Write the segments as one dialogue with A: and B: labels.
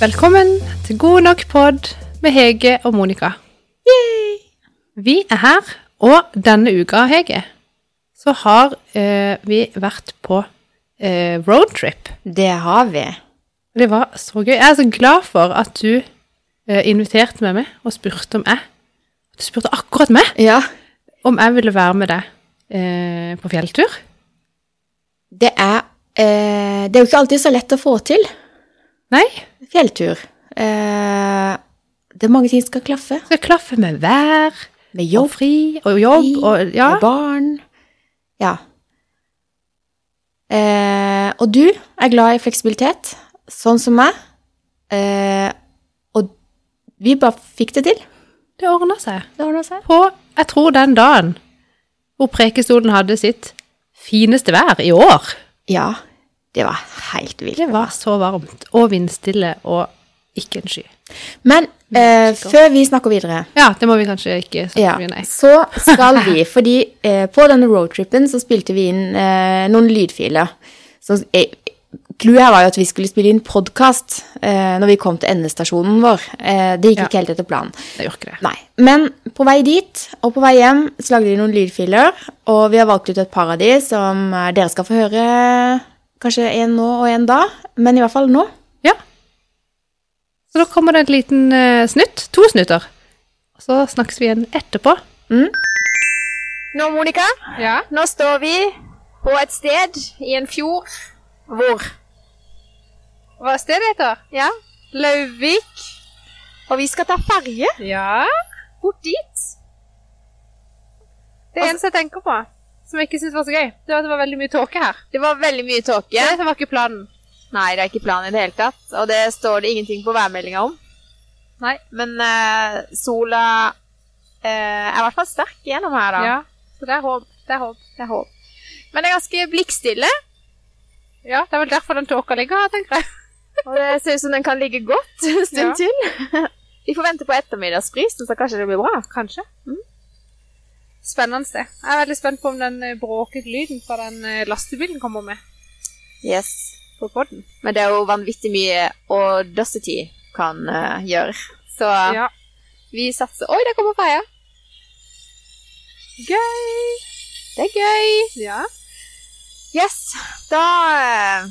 A: Velkommen til God nok pod med Hege og Monica. Vi er her, og denne uka, Hege, så har eh, vi vært på eh, roadtrip.
B: Det har vi.
A: Og det var så gøy. Jeg er så glad for at du eh, inviterte meg med og spurte om jeg. Du spurte akkurat meg
B: Ja.
A: om jeg ville være med deg eh, på fjelltur.
B: Det er, eh, det er jo ikke alltid så lett å få til
A: Nei,
B: fjelltur. Eh, det er mange ting som skal klaffe.
A: så jeg klaffer med vær
B: Med
A: og
B: jobb,
A: fri og jobb og ja.
B: med barn. Ja. Eh, og du er glad i fleksibilitet, sånn som meg. Eh, og vi bare fikk det til.
A: Det ordner seg.
B: Det ordna seg.
A: på, jeg tror den dagen hvor Prekestolen hadde sitt fineste vær i år.
B: Ja. Det var helt vilt.
A: Det var så varmt og vindstille og ikke en sky.
B: Men eh, før vi snakker videre
A: Ja, det må vi kanskje ikke
B: Ja,
A: snakke mye nei.
B: så skal vi, fordi eh, på denne roadtrippen så spilte vi inn eh, noen lydfiler. Så eh, clouet her var jo at vi skulle spille inn podkast eh, når vi kom til endestasjonen vår. Eh, det gikk
A: Ja.
B: ikke helt etter planen.
A: Jeg gjør ikke det.
B: Nei. Men på vei dit og på vei hjem så lagde vi noen lydfiler, og vi har valgt ut et par av de som eh, dere skal få høre kanskje en nå og en da, men i hvert fall nå.
A: Ja. Så da kommer det en liten eh, snutt. To snutter. Og så snakkes vi igjen etterpå.
C: Nå, Monica,
A: Ja.
C: nå står vi på et sted i en fjord. Hvor?
A: Hva er stedet heter?
C: Ja, Lauvik. Og vi skal ta ferge
A: Ja.
C: bort dit.
A: Det
C: Altså,
A: eneste jeg tenker på, som jeg ikke syntes var så gøy, det var at det var veldig mye tåke her.
C: Det var veldig mye tåke.
A: Det var ikke planen.
C: Nei, det er ikke planen i det hele tatt. Og det står det ingenting på værmeldinga om. Nei. Men eh, sola eh, er i hvert fall sterk gjennom her, da.
A: Så det er håp. Det er håp.
C: Jeg håper. Men det er ganske blikkstille,
A: Ja, det er vel derfor den tåka ligger her, tenker jeg.
C: og det ser ut som den kan ligge godt en
A: Ja.
C: stund til. Vi får vente på ettermiddagsbrisen, så kanskje det blir bra.
A: Kanskje. Spennende sted. Jeg er veldig spent på om den eh, bråkete lyden fra den eh, lastebilen kommer med
C: Yes.
A: på podden.
C: Men det er jo vanvittig mye audacity kan eh, gjøre. Så
A: Ja.
C: vi satser Oi, der kommer Freja!
A: Gøy!
C: Det er gøy!
A: Ja.
C: Yes. Da eh,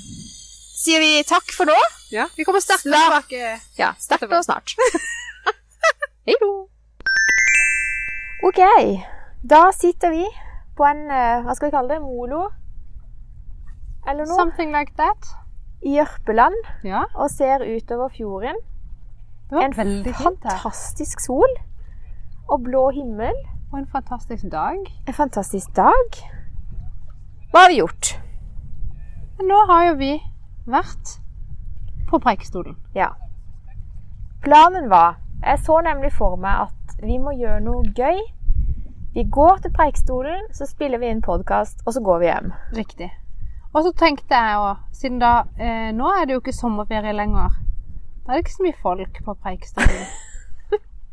C: sier vi takk for nå.
A: ja. Vi kommer sterkt
C: Slapp.
A: tilbake.
C: Ja, starter
A: Etterpå.
C: snart. Hei då! OK. Da sitter vi på en eh, Hva skal vi kalle det? Molo? Eller
A: Something like that.
C: I Jørpeland
A: Ja.
C: og ser utover fjorden.
A: Det var veldig fint her.
C: fantastisk sol og blå himmel.
A: Og en fantastisk dag.
C: En fantastisk dag. Hva har vi gjort?
A: Men nå har jo vi vært på Preikestolen.
C: Ja. Planen var Jeg så nemlig for meg at vi må gjøre noe gøy. Vi går til Preikestolen, så spiller vi inn podkast, og så går vi hjem.
A: Riktig. Og så tenkte jeg òg, siden da eh, Nå er det jo ikke sommerferie lenger. Da er det ikke så mye folk på Preikestolen.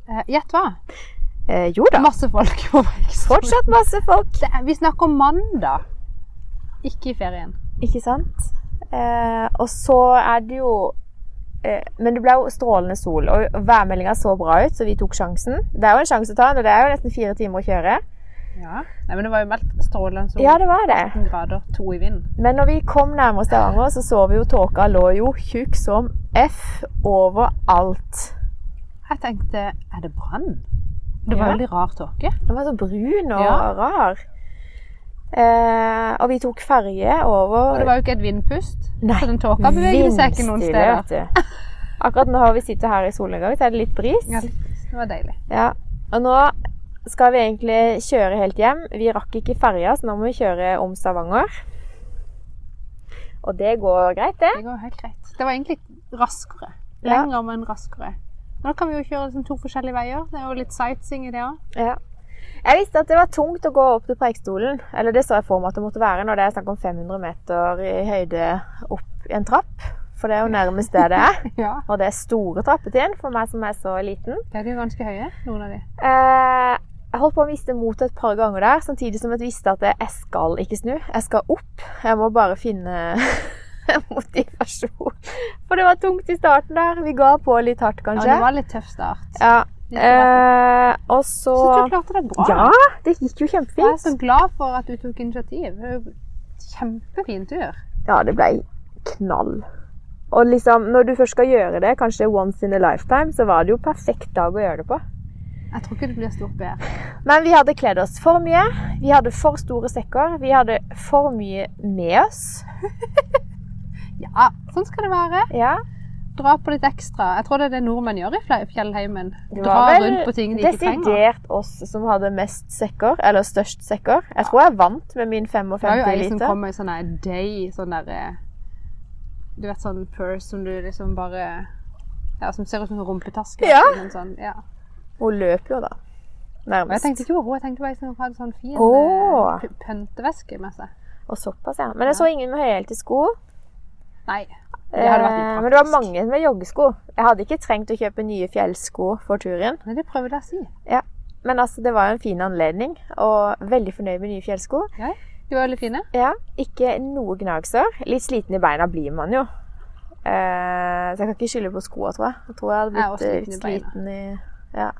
A: Eh, Gjett hva?
C: Eh, jo da.
A: Masse folk på Preikestolen.
C: Fortsatt masse folk.
A: Det er, vi snakker om mandag, ikke i ferien.
C: Ikke sant? Eh, og så er det jo eh, Men det ble jo strålende sol, og værmeldinga så bra ut, så vi tok sjansen. Det er jo en sjanse å ta, og det er jo nesten fire timer å kjøre.
A: Ja. Nei, men det var jo meldt strålende sol.
C: Ja, det var det.
A: 18 grader, to i vind.
C: Men når vi kom nærmere Stavanger, så så vi jo tåka lå jo tjukk som F overalt.
A: Jeg tenkte, er det brann? Det var
C: Ja.
A: veldig rar tåke.
C: Den var så brun og
A: Ja.
C: rar. Eh, og vi tok ferje
A: Og det
C: over
A: var jo ikke et vindpust.
C: Nei,
A: så den tåka bevegde seg ikke noen
C: vindstille,
A: steder.
C: vet du. Akkurat nå har vi sittet her i solnedgang, så er det litt bris.
A: Ja, det var deilig.
C: Ja. Og nå skal vi egentlig kjøre helt hjem. Vi rakk ikke ferja, så nå må vi kjøre om Stavanger. Og det går greit, det.
A: Det går helt greit. Det var egentlig raskere.
C: Ja.
A: Lengre, men raskere. Nå kan vi jo kjøre liksom to forskjellige veier. Det er jo litt sightseeing i det òg.
C: Ja. Jeg visste at det var tungt å gå opp til Preikestolen. Eller det så jeg for meg at det måtte være når det er snakk om 500 meter i høyde opp i en trapp. For det er jo nærmest det det er.
A: Ja.
C: Og det er store trappetrinn for meg som er så liten.
A: Det er jo ganske høye, noen av de.
C: Eh, jeg holdt på å miste motet et par ganger der, samtidig som jeg visste at jeg skal ikke snu. Jeg skal opp. Jeg må bare finne motivasjon. For det var tungt i starten der. Vi ga på litt hardt,
A: Ja,
C: kanskje.
A: det var litt tøff start.
C: Ja.
A: Litt tøff.
C: Eh, og så
A: Jeg synes du klarte det bra.
C: Ja, det gikk jo
A: Jeg er så
C: kjempefint.
A: glad for at du tok initiativ. Det er jo Kjempefin tur.
C: Ja, det ble knall. Og liksom, når du først skal gjøre det, kanskje once in a lifetime, så var det jo perfekt dag å gjøre det på.
A: Jeg tror ikke det blir stort bedre.
C: Men vi hadde kledd oss for mye. Vi hadde for store sekker. Vi hadde for mye med oss.
A: Ja, sånn skal det være.
C: Ja,
A: Dra på litt ekstra. Jeg tror det er det nordmenn gjør i fle- fjellheimen.
C: Det
A: Dra
C: var vel
A: rundt på ting de ikke trenger.
C: desidert oss som hadde mest sekker, eller størst sekker. Jeg tror jeg vant med min
A: Det var jo
C: 55
A: ei som
C: liter.
A: kom med sånn der day, sånn der eh, Du vet sånn purse som du liksom bare Ja, som ser ut som en rumpetaske.
C: Ja.
A: men Sånn, ja.
C: Hun løp jo da,
A: Og jeg
C: nærmest.
A: tenkte ikke over henne, jeg tenkte bare liksom, hun hadde sånn fin eh,
C: Åh.
A: p- pønteveske med seg.
C: Og såpass, ja. Men jeg så ingen med høyhælte sko.
A: Nei. Det hadde vært
C: Eh,
A: litt
C: Men det var
A: praktisk.
C: mange med joggesko. Jeg hadde ikke trengt å kjøpe nye fjellsko for turen.
A: Men det prøvde jeg å si.
C: Men altså, det var jo en fin anledning, og veldig fornøyd med nye fjellsko.
A: De var veldig fine.
C: Ja, Ikke noe gnagsår. Litt sliten i beina blir man jo. Eh, så jeg kan ikke skylde på skoa, tror jeg. Jeg tror jeg hadde
A: Jeg er også
C: blitt eh,
A: sliten i beina.
C: sliten i Ja.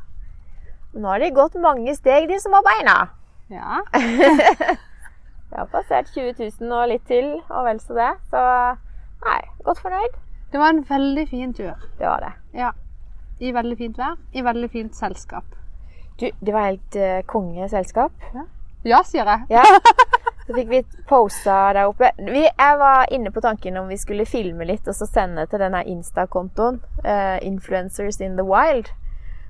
C: Men nå har de gått mange steg, de som har beina.
A: Ja.
C: Jeg har passert 20 000 og litt til, og vel så det. Så nei, godt fornøyd.
A: Det var en veldig fin tur.
C: Det var det.
A: I veldig fint vær, i veldig fint selskap.
C: Du, det var helt eh, kongeselskap.
A: Ja, sier jeg.
C: Ja. Så fikk vi posa der oppe. Vi, jeg var inne på tanken om vi skulle filme litt og så sende til denne Insta-kontoen. eh, Influencers in the wild.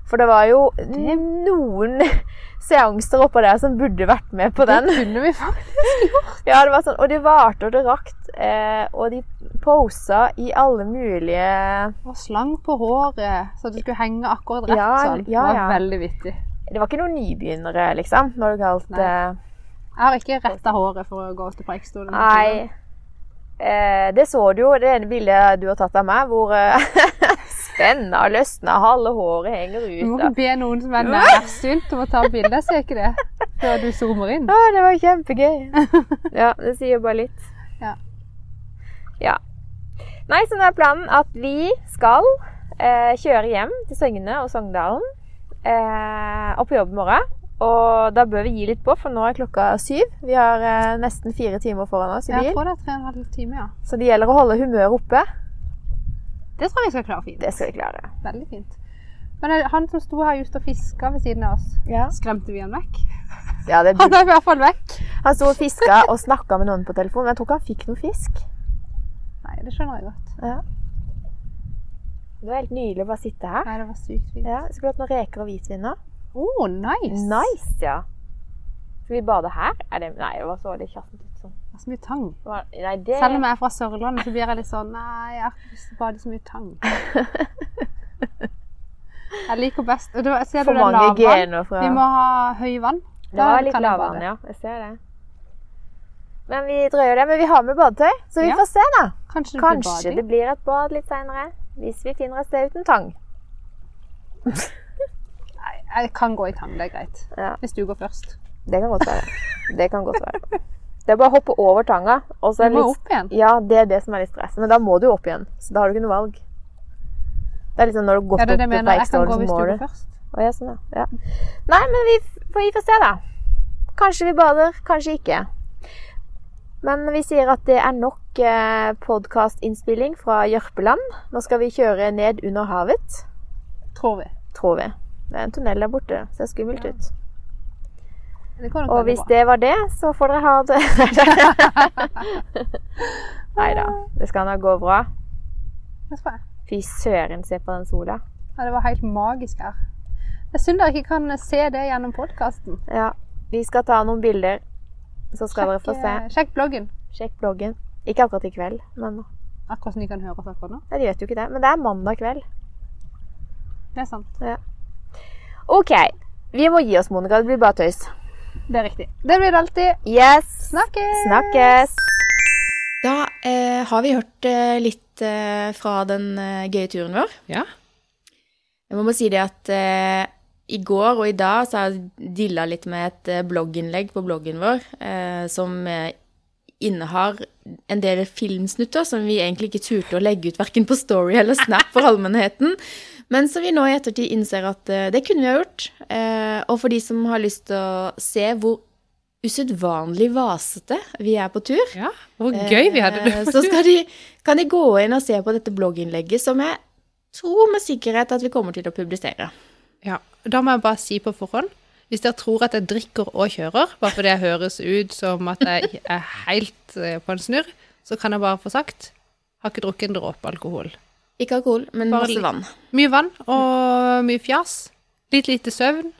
C: For det var jo noen seanser oppå der som burde vært med på den.
A: Det kunne vi faktisk.
C: Ja, det var sånn, Og det varte og det rakt. eh, og de posa i alle mulige
A: Og slang på håret, så det skulle henge akkurat rett
C: Ja,
A: sånn.
C: ja,
A: Det
C: ja.
A: var veldig vittig.
C: Det var ikke noen nybegynnere, liksom, når det gjaldt
A: Nei.
C: eh,
A: Jeg har ikke retta håret for å gå til preikestolen.
C: Nei. Eh, det så du jo i det ene bildet du har tatt av meg, hvor eh, spenna og løsna, halve håret henger
A: Du må
C: ut.
A: ikke
C: Da.
A: be noen som er nærsynt om å ta bilde, ser ikke det? Før du zoomer inn.
C: Å, det var kjempegøy. Ja, det sier bare litt.
A: Ja.
C: Ja. Nei, så nå er planen at vi skal eh, kjøre hjem til Søgne og Sogndalen eh, og på jobb i morgen. Og da bør vi gi litt på, for nå er klokka syv. Vi har eh, nesten fire timer foran oss i
A: Jeg
C: bil,
A: tror det er tre og en halv time, ja.
C: så det gjelder å holde humøret oppe.
A: Det tror jeg vi skal klare fint.
C: Det skal vi klare.
A: Veldig fint. Men eh, han som sto her just og fiska ved siden av oss,
C: Ja.
A: skremte vi han vekk?
C: Ja, det
A: Han er i hvert fall vekk.
C: Han sto og fiska og snakka med noen på telefon, men jeg tror ikke han fikk noe fisk.
A: Nei, det skjønner jeg godt.
C: Det var helt nydelig å bare sitte her.
A: Nei, det var sykt fint. Å,
C: Ja, Skulle hatt noen reker og hvitvin nå.
A: oh, nice.
C: Nice, ja. Skal vi bade her? Er det, nei, det var så litt tjasset ut sånn.
A: Det er så mye tang.
C: Det var- Nei, det
A: Selv om jeg er fra Sørlandet, så blir jeg litt sånn Nei, jeg har ikke lyst til å bade i så mye tang. Jeg liker best og det, var- Ser
C: for
A: du den
C: mange
A: lavvann?
C: gener fra
A: Vi må ha høyvann.
C: Det var litt lavvann, ja. Jeg ser det. Men vi drøyer det. Men vi har med badetøy, så vi
A: Ja.
C: får se, da.
A: Kanskje det blir
C: Kanskje det
A: bading.
C: blir et bad litt seinere. Hvis vi finner et sted uten tang.
A: Nei, jeg kan gå i tang, det er greit.
C: Ja.
A: Hvis du går først.
C: Det kan godt være. Det kan godt være. Det er bare å hoppe over tanga. Og
A: Du
C: så er det
A: må
C: litt
A: opp igjen.
C: Ja, det er det som er litt stress. Men da må du jo opp igjen. Så da har du ikke noe valg. Det er liksom når du har gått
A: Ja, det er det jeg
C: opp til
A: mener. Jeg kan gå
C: Preikestolen,
A: hvis du
C: så må
A: går
C: du.
A: først.
C: Å, ja, sånn, ja. ja. Nei, men vi f- får vi får se, da. Kanskje vi bader, kanskje ikke. Men vi sier at det er nok eh, podkastinnspilling fra Jørpeland. Nå skal vi kjøre ned under havet,
A: Tror vi.
C: tror vi. Det er en tunnel der borte. Ser skummelt
A: Ja.
C: ut.
A: Det går nok veldig
C: Og hvis
A: bra.
C: det var det, så får dere ha det Nei da. Det skal nå gå bra.
A: Det tror jeg.
C: Fy søren, se på den sola.
A: Ja, det var helt magisk her. Det er synd dere ikke kan se det gjennom podkasten.
C: Ja, vi skal ta noen bilder, så skal dere få se.
A: sjekk bloggen.
C: Sjekk bloggen. Ikke akkurat i kveld, men
A: Akkurat som de kan høre oss akkurat nå.
C: Nei, de vet jo ikke det. Men det er mandag kveld.
A: Det er sant.
C: OK. Vi må gi oss, Monica. Det blir bare tøys.
A: Det er riktig. Det blir det alltid.
C: Yes!
A: Snakkes!
C: Snakkes!
D: Da eh, har vi hørt eh, litt eh, fra den eh, gøye turen vår.
E: Ja.
D: Jeg må bare si det at eh, i går og i dag så har jeg dilla litt med et eh, blogginnlegg på bloggen vår eh, som eh,
C: innehar en del filmsnutter som vi egentlig ikke turte å legge ut verken på Story eller Snap for allmennheten, men som vi nå i ettertid innser at eh, det kunne vi ha gjort. Eh, og for de som har lyst til å se hvor usedvanlig vasete vi er på tur,
A: Ja, hvor gøy vi hadde det.
C: eh, så skal de, kan de gå inn og se på dette blogginnlegget, som jeg tror med sikkerhet at vi kommer til å publisere. Eh.
A: Ja, da må jeg bare si på forhånd, hvis dere tror at jeg drikker og kjører, bare fordi jeg høres ut som at jeg er helt eh, på en snurr, så kan jeg bare få sagt, har ikke drukket en dråpe alkohol.
C: Ikke alkohol, men
A: Bare
C: masse
A: litt.
C: vann.
A: Mye vann og mye fjas, litt lite søvn,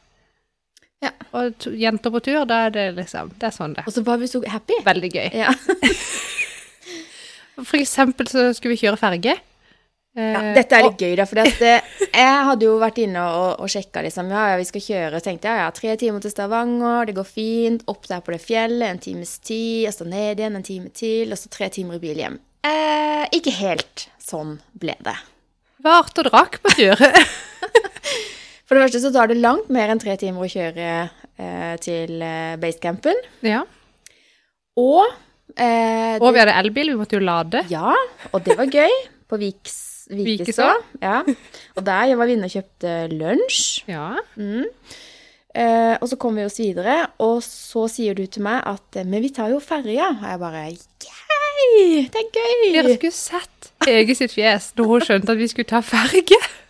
C: Ja.
A: og to, jenter på tur, da er det liksom, det er sånn det.
C: Og så var vi så happy.
A: Veldig gøy.
C: Ja.
A: For eksempel så skulle vi kjøre ferge. Eh,
C: Ja, dette er litt gøy, da. For eh, jeg hadde jo vært inne og, og sjekka, liksom. Ja, ja, vi skal kjøre. Tenkte jeg, ja, ja, tre timer til Stavanger, det går fint. Opp der på det fjellet, en times tid. Og så ned igjen, en time til. Og så tre timer i bil hjem. Eh, ikke helt sånn ble det.
A: og vart og drakk på tur.
C: For det første så tar det langt mer enn tre timer å kjøre eh, til eh, basecampen.
A: ja.
C: Og eh,
A: Og vi hadde elbil, vi måtte jo lade.
C: Ja, og det var gøy. På Viks, Vikestad. Ja. Og der var vi inne og kjøpte lunsj.
A: Ja.
C: Eh, og så kom vi oss videre, og så sier du til meg at eh, Men vi tar jo ferja. Og jeg bare Yeah! Det er gøy!
A: Dere skulle sett Hege sitt fjes da hun skjønte at vi skulle ta ferge.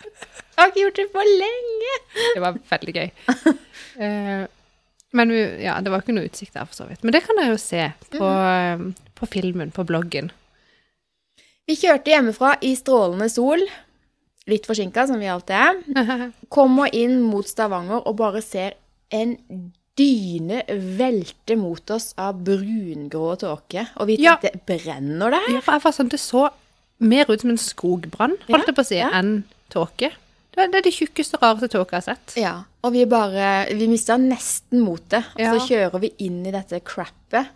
C: Jeg har ikke gjort det for lenge!
A: Det var veldig gøy. Eh, men vi, ja, det var ikke noe utsikt der, for så vidt. Men det kan dere jo se på,
C: Mhm.
A: eh, på filmen, på bloggen.
C: Vi kjørte hjemmefra i strålende sol. Litt forsinka, som vi alltid er. Kommer inn mot Stavanger og bare ser en dyne velte mot oss av brungrå tåke. Og vi
A: Ja.
C: tenkte Brenner det her?
A: Ja, for jeg var sånn, Det så mer ut som en skogbrann, holdt jeg på å si,
C: ja.
A: enn tåke. Det er- det er de tjukkeste og rareste tåka jeg har sett.
C: Ja, og vi bare Vi mista nesten motet. Og
A: Ja.
C: så kjører vi inn i dette crappet,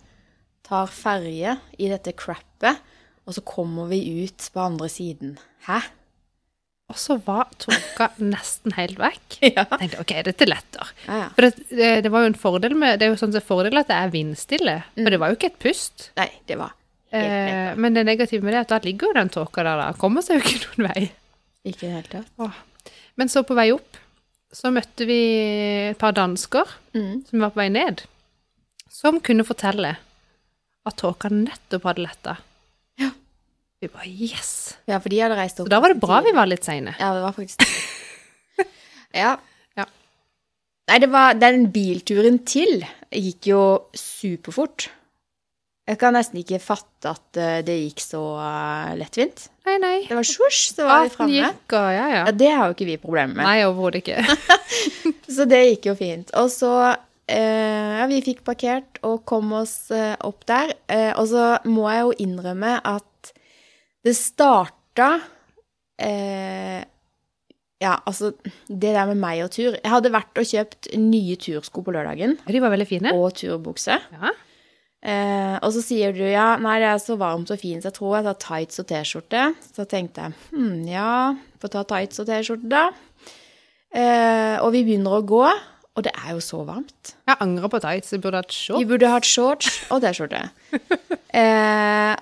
C: tar ferje i dette crappet, og så kommer vi ut på andre siden. Hæ?
A: Og så var tåka nesten helt vekk.
C: Ja.
A: Jeg tenkte ok, dette letter.
C: Ja, ja.
A: For det, det, det var jo en fordel med Det er jo sånn sett fordel at det er vindstille,
C: Mm.
A: for det var jo ikke et pust.
C: Nei, det var helt ned.
A: Eh, men det negative med det er at da ligger jo den tåka der, da. Kommer seg jo ikke noen vei.
C: Ikke i det hele tatt.
A: Åh. Men så på vei opp, så møtte vi et par dansker
C: Mm.
A: som var på vei ned, som kunne fortelle at tåka nettopp hadde letta.
C: Ja.
A: Vi bare yes!
C: Ja, for de hadde reist opp
A: Så da var det bra vi var litt seine.
C: Ja, det var faktisk det. ja.
A: Ja.
C: Nei, det var Den bilturen til gikk jo superfort. Jeg kan nesten ikke fatte at eh, det gikk så eh, lettvint.
A: Nei, nei.
C: Det var sjosj, så var vi
A: Praten
C: framme.
A: gikk, og ja, ja.
C: Ja, det har jo ikke vi problemer med.
A: Nei, overhodet ikke.
C: Så det gikk jo fint. Og så eh, Ja, vi fikk parkert og kom oss eh, opp der. Eh, og så må jeg jo innrømme at det starta eh, Ja, altså Det der med meg og tur Jeg hadde vært og kjøpt nye tursko på lørdagen.
A: De var veldig fine.
C: Og turbukse.
A: Ja.
C: Eh, og så sier du ja, nei, det er så varmt og fint, så jeg tror jeg tar tights og T-skjorte. Så tenkte jeg hm, ja, får ta tights og T-skjorte, da. Eh, og vi begynner å gå, og det er jo så varmt.
A: Jeg angrer på tights. Jeg burde hatt
C: Vi
A: shorts.
C: burde hatt shorts og T-skjorte. Eh,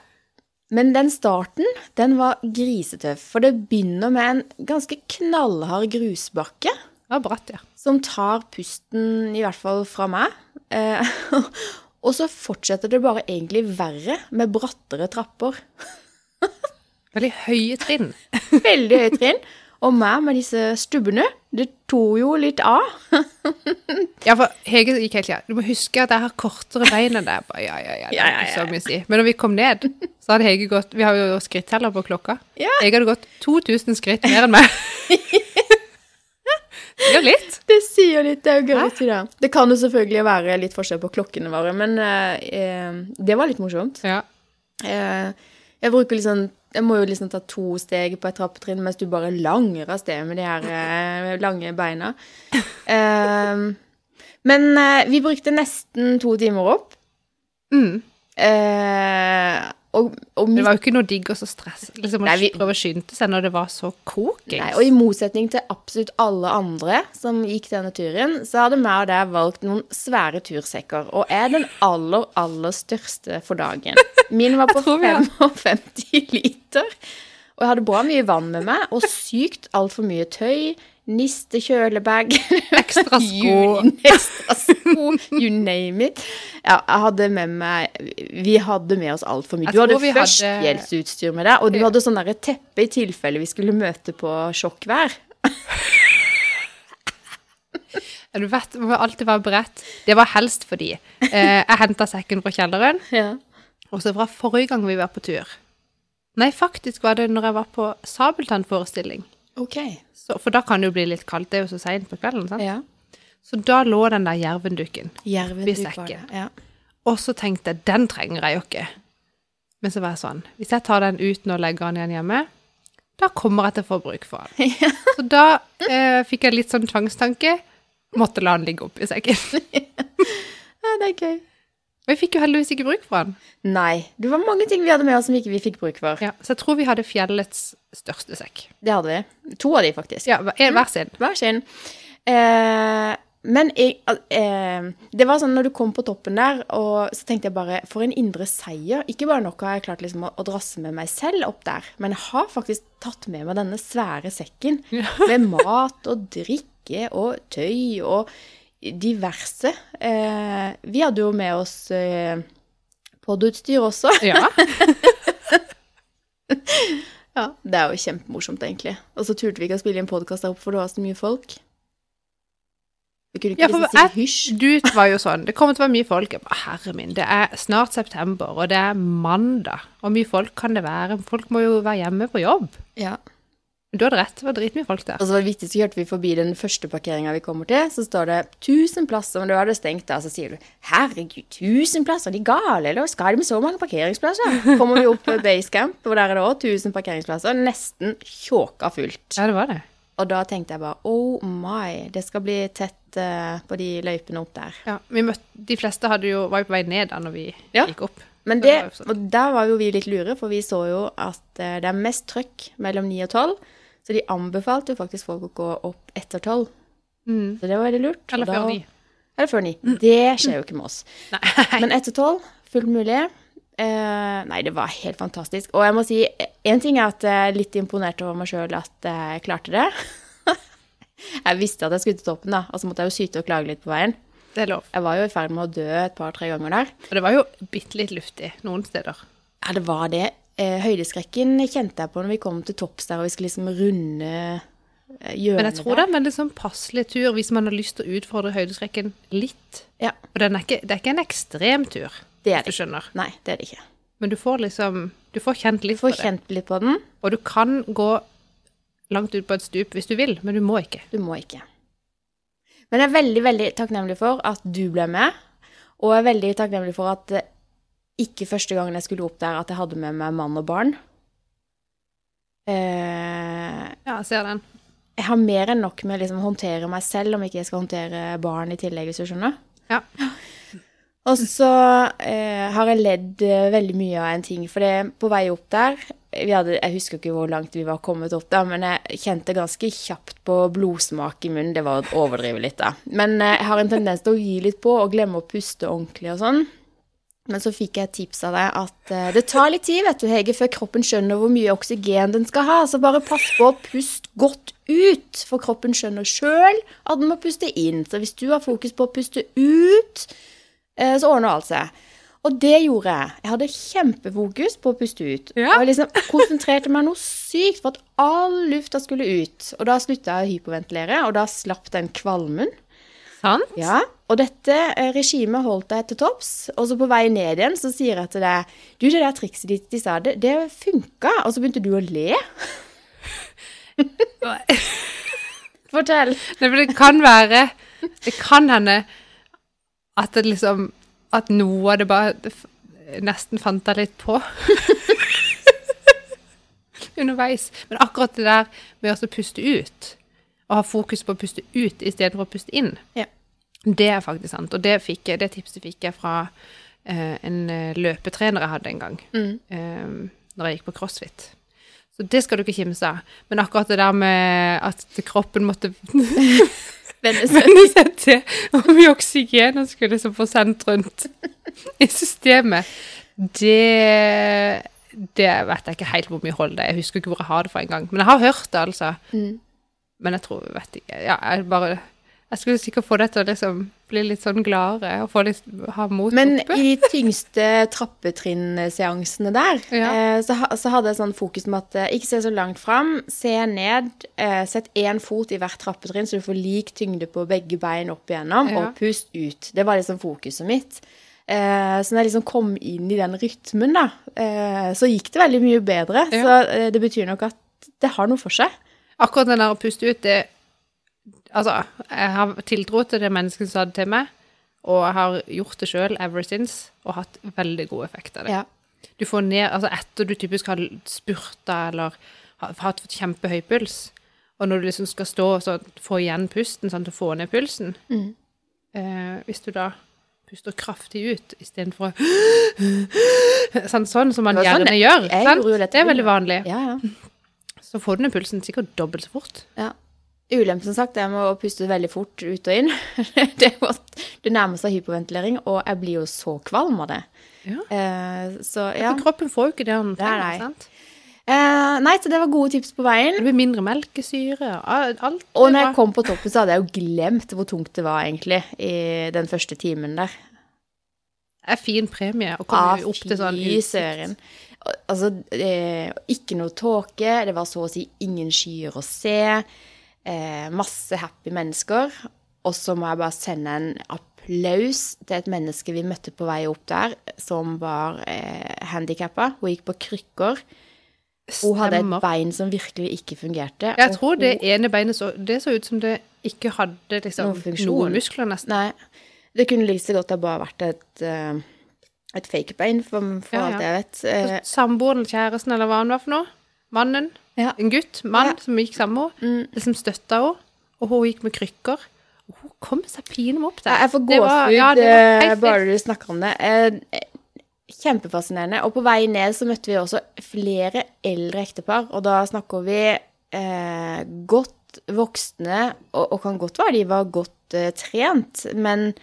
C: men den starten, den var grisetøff. For det begynner med en ganske knallhard grusbakke
A: Det var bratt, ja.
C: som tar pusten, i hvert fall fra meg. Eh, og så fortsetter det bare egentlig verre, med brattere trapper.
A: Veldig høye trinn.
C: Veldig høye trinn. Og meg med disse stubbene. Det tok jo litt av.
A: Ja, for Hege gikk helt ja. Du må huske at jeg har kortere bein enn deg. Jeg Bare, ja, ja, ja, det
C: Ja,
A: er
C: ja,
A: ikke
C: ja.
A: så mye å si. Men når vi kom ned, så hadde Hege gått Vi har jo skritteller på klokka.
C: Ja.
A: Hege hadde gått 2000 skritt mer enn meg. Det er jo litt.
C: Det sier litt, det er jo gøy. til Det Det kan jo selvfølgelig være litt forskjell på klokkene våre, men eh, eh, det var litt morsomt.
A: Ja.
C: Eh, jeg bruker liksom jeg må jo liksom ta to steg på et trappetrinn, mens du bare langer av sted med de her eh, lange beina. Eh, men eh, vi brukte nesten to timer opp.
A: Mm.
C: Eh, Og, og
A: Det var jo ikke noe digg og så stress. Liksom, å
C: Nei, vi-
A: prøve å skynde seg når det var så kokings.
C: Nei, og i motsetning til absolutt alle andre som gikk denne turen, så hadde meg og deg valgt noen svære tursekker, og er den aller, aller største for dagen. Min var på
A: tror vi har-
C: 55 liter, og jeg hadde bra mye vann med meg, og sykt altfor mye tøy, niste, kjølebag,
A: Ekstra sko.
C: You, ekstra sko, you name it. Ja, jeg hadde med meg Vi hadde med oss altfor mye.
A: Jeg
C: Du hadde
A: tror vi hadde-
C: førstehjelpsutstyr med deg, og du hadde sånn derre teppe i tilfelle vi skulle møte på sjokkvær.
A: Ja, Du vet, man må alltid være beredt. Det var helst fordi eh, jeg henta sekken fra kjelleren, og så fra forrige gang vi var på tur. Nei, faktisk var det når jeg var på Sabeltann-forestilling.
C: Ok.
A: Så- For da kan det jo bli litt kaldt, det er jo så seint på kvelden. sant?
C: Ja.
A: Så da lå den der jervendukken.
C: Jerven
A: Vi
C: du
A: sekker.
C: var det, Ja.
A: Og så tenkte jeg, den trenger jeg jo ikke. Men så var jeg sånn, hvis jeg tar den uten og legger den igjen hjemme, da kommer jeg til å få bruk for den. Så da eh, fikk jeg litt sånn tvangstanke, måtte la den ligge opp i sekken.
C: ja, det er gøy.
A: Og jeg fikk jo heldigvis ikke bruk for den.
C: Nei. Det var mange ting vi hadde med oss som ikke vi fikk bruk for.
A: Ja, så jeg tror vi hadde fjellets største sekk.
C: Det hadde vi. To av de, faktisk.
A: Ja, hver- en hver sin.
C: Hver sin. Eh, men jeg, al- eh, det var sånn når du kom på toppen der, og så tenkte jeg bare For en indre seier. Ikke bare nok har jeg klart liksom å, å drasse med meg selv opp der, men jeg har faktisk tatt med meg denne svære sekken med mat og drikke og tøy og diverse. Eh, vi hadde jo med oss eh, podutstyr også.
A: Ja,
C: Ja, Det er jo kjempemorsomt, egentlig. Og så turte vi ikke å spille inn podkast der oppe, for det var så mye folk. Vi kunne ikke
A: Ja, for
C: liksom
A: jeg-
C: si hysj.
A: du var jo sånn, det kommer til å være mye folk. Jeg bare, Herre min, det er snart september, og det er mandag. Og mye folk kan det være. Folk må jo være hjemme på jobb.
C: Ja.
A: Du hadde rett, det var dritmye folk der.
C: Og så var det viktig, så kjørte vi forbi den første parkeringa vi kommer til, så står det 1000 plasser, men da er det stengt, da. Så sier du 'herregud, 1000 plasser, er de gale, eller skal de med så mange parkeringsplasser?' Kommer vi opp på Basecamp, og der er det òg 1000 parkeringsplasser, nesten tjåka fullt.
A: Ja, det var det.
C: Og da tenkte jeg bare 'oh my', det skal bli tett eh, på de løypene opp der.
A: Ja, vi møtte, de fleste hadde jo, var jo på vei ned da når vi
C: Ja.
A: gikk opp.
C: Men
A: Så
C: det,
A: var jo sånn.
C: og der var jo vi litt lure, for vi så jo at eh, det er mest trøkk mellom 9 og 12, så de anbefalte jo faktisk folk å gå opp etter 12.
A: Mm.
C: Så det var veldig lurt. og
A: Eller
C: da-
A: før ni. Mm.
C: Eller før 9. Det skjer jo ikke med oss.
A: Nei.
C: Men etter 12, fullt mulig. Eh, nei, det var helt fantastisk. Og jeg må si, én ting er at jeg er litt imponert over meg sjøl at eh, jeg klarte det. jeg visste at jeg skulle til toppen, da, og så måtte jeg jo syte og klage litt på veien.
A: Det er lov.
C: Jeg var jo i ferd med å dø et par-tre ganger der.
A: Og det var jo bitte litt luftig noen steder.
C: Ja, det var det. Eh, høydeskrekken kjente jeg på når vi kom til topps der, og vi skulle liksom runde eh, hjørnet
A: Men jeg tror det
C: der.
A: er en veldig sånn passelig tur hvis man har lyst til å utfordre høydeskrekken litt.
C: Ja,
A: Og den er ikke, det er ikke en ekstrem tur,
C: det er
A: hvis du
C: det.
A: skjønner.
C: Nei, det er det ikke.
A: Men du får liksom, du får kjent litt
C: Du får
A: på det.
C: kjent litt på den.
A: Og du kan gå langt ut på et stup hvis du vil, men du må ikke.
C: Du må ikke. Men jeg er veldig, veldig takknemlig for at du ble med, og jeg er veldig takknemlig for at eh, ikke første gangen jeg skulle opp der, at jeg hadde med meg mann og barn. Eh,
A: Ja, jeg ser den.
C: jeg har mer enn nok med å liksom håndtere meg selv, om ikke jeg skal håndtere barn i tillegg, hvis du skjønner.
A: Ja.
C: Og så eh, har jeg ledd eh, veldig mye av en ting, for det, på vei opp der vi hadde, Jeg husker ikke hvor langt vi var kommet opp der, men jeg kjente ganske kjapt på blodsmak i munnen. Det var å overdrive litt, da. Men eh, jeg har en tendens til å gi litt på og glemme å puste ordentlig og sånn. Men så fikk jeg et tips av deg at eh, det tar litt tid, vet du, Hege, før kroppen skjønner hvor mye oksygen den skal ha. Så bare pass på å puste godt ut, for kroppen skjønner sjøl at den må puste inn. Så hvis du har fokus på å puste ut, eh, så ordner alt seg. Og det gjorde jeg. Jeg hadde kjempefokus på å puste ut.
A: Ja.
C: Og jeg liksom konsentrerte meg noe sykt for at all lufta skulle ut. Og da slutta jeg å hyperventilere, og da slapp den kvalmen.
A: Sant?
C: Ja, og dette eh, regimet holdt deg til topps, og så på vei ned igjen så sier jeg til deg Du, det der trikset ditt de sa, det, det funka. Og så begynte du å le.
A: Nei,
C: Fortell.
A: men det kan være, det kan hende at det liksom, at noe av det bare det f- nesten fant jeg litt på. Underveis. Men akkurat det der med å puste ut, og ha fokus på å puste ut istedenfor å puste inn,
C: Ja.
A: det er faktisk sant. Og det, fikk jeg, det tipset fikk jeg fra eh, en eh, løpetrener jeg hadde en gang,
C: Mm.
A: eh, når jeg gikk på crossfit. Så det skal du ikke kimse av. Men akkurat det der med at kroppen måtte venne seg til om mye oksygen han skulle liksom få sendt rundt i systemet, det, det vet jeg ikke helt hvor mye hold det er. Jeg husker ikke hvor jeg har det fra engang. Men jeg har hørt det, altså.
C: Mm.
A: Men jeg tror vet ikke, ja, jeg bare Jeg skulle sikkert få deg til å liksom bli litt sånn gladere og få litt, ha mot
C: Men
A: oppe.
C: i de tyngste trappetrinnseansene der,
A: Ja.
C: eh, så, ha- så hadde jeg sånn fokus med at eh, ikke se så langt fram, se ned, eh, sett én fot i hvert trappetrinn, så du får lik tyngde på begge bein opp igjennom,
A: Ja.
C: og pust ut. Det var liksom fokuset mitt. Eh, så når jeg liksom kom inn i den rytmen, da, eh, så gikk det veldig mye bedre.
A: Ja.
C: Så eh, det betyr nok at det har noe for seg.
A: Akkurat den der å puste ut, det Altså, jeg har tiltro til det mennesket som sa det til meg, og jeg har gjort det sjøl ever since og hatt veldig god effekt av det.
C: Ja.
A: Du får ned Altså etter du typisk har spurta eller har hatt fått kjempehøy puls, og når du liksom skal stå og så få igjen pusten, sånn at du får ned pulsen
C: Mm.
A: eh, Hvis du da puster kraftig ut istedenfor å sånn, sånn som man
C: Det var sånn
A: gjerne
C: jeg-
A: gjør.
C: jeg
A: sant?
C: gjorde jo dette
A: Det er veldig
C: mye.
A: vanlig.
C: Ja, ja.
A: Så får du ned pulsen sikkert dobbelt så fort.
C: Ja. Ulempen, som sagt, er med å puste veldig fort ut og inn. det er jo at det nærmer seg hyperventilering, og jeg blir jo så kvalm av det.
A: Ja.
C: Eh, så ja.
A: For kroppen får jo ikke det den
C: Det er
A: trenger.
C: nei.
A: sant?
C: Eh, nei, så det var gode tips på veien.
A: Det blir mindre melkesyre al- alt.
C: Og
A: det
C: når jeg
A: var-
C: kom på toppen, så hadde jeg jo glemt hvor tungt det var, egentlig, i den første timen der.
A: er fin premie å komme opp til sånn
C: fy søren. Al- Altså, eh, ikke noe tåke, det var så å si ingen skyer å se. Eh, masse happy mennesker. Og så må jeg bare sende en applaus til et menneske vi møtte på vei opp der, som var eh, handikappa. Hun gikk på krykker. Hun hadde et
A: Stemmer.
C: bein som virkelig ikke fungerte.
A: Jeg
C: og
A: tror det
C: hun-
A: ene beinet så, det så ut som det ikke hadde liksom,
C: Noen funksjon.
A: noen muskler, nesten.
C: Nei. Det kunne like så godt ha bare vært et, eh, et fake bein, for, for
A: Ja, ja.
C: alt jeg vet. Eh,
A: Så Altså, Samboeren, kjæresten eller hva han var for noe, mannen,
C: Ja.
A: en gutt, mann
C: Ja. Mm.
A: som gikk sammen med henne, det som støtta henne, og hun gikk med krykker. Og hun kom seg pinlig opp der.
C: Ja, jeg får
A: Det var-
C: gåsehud
A: ja, det var helt
C: eh,
A: vilt.
C: bare du snakker om det. Eh, Kjempefascinerende. Og på vei ned så møtte vi også flere eldre ektepar, og da snakker vi eh, godt voksne, og, og kan godt være de var godt eh, trent, men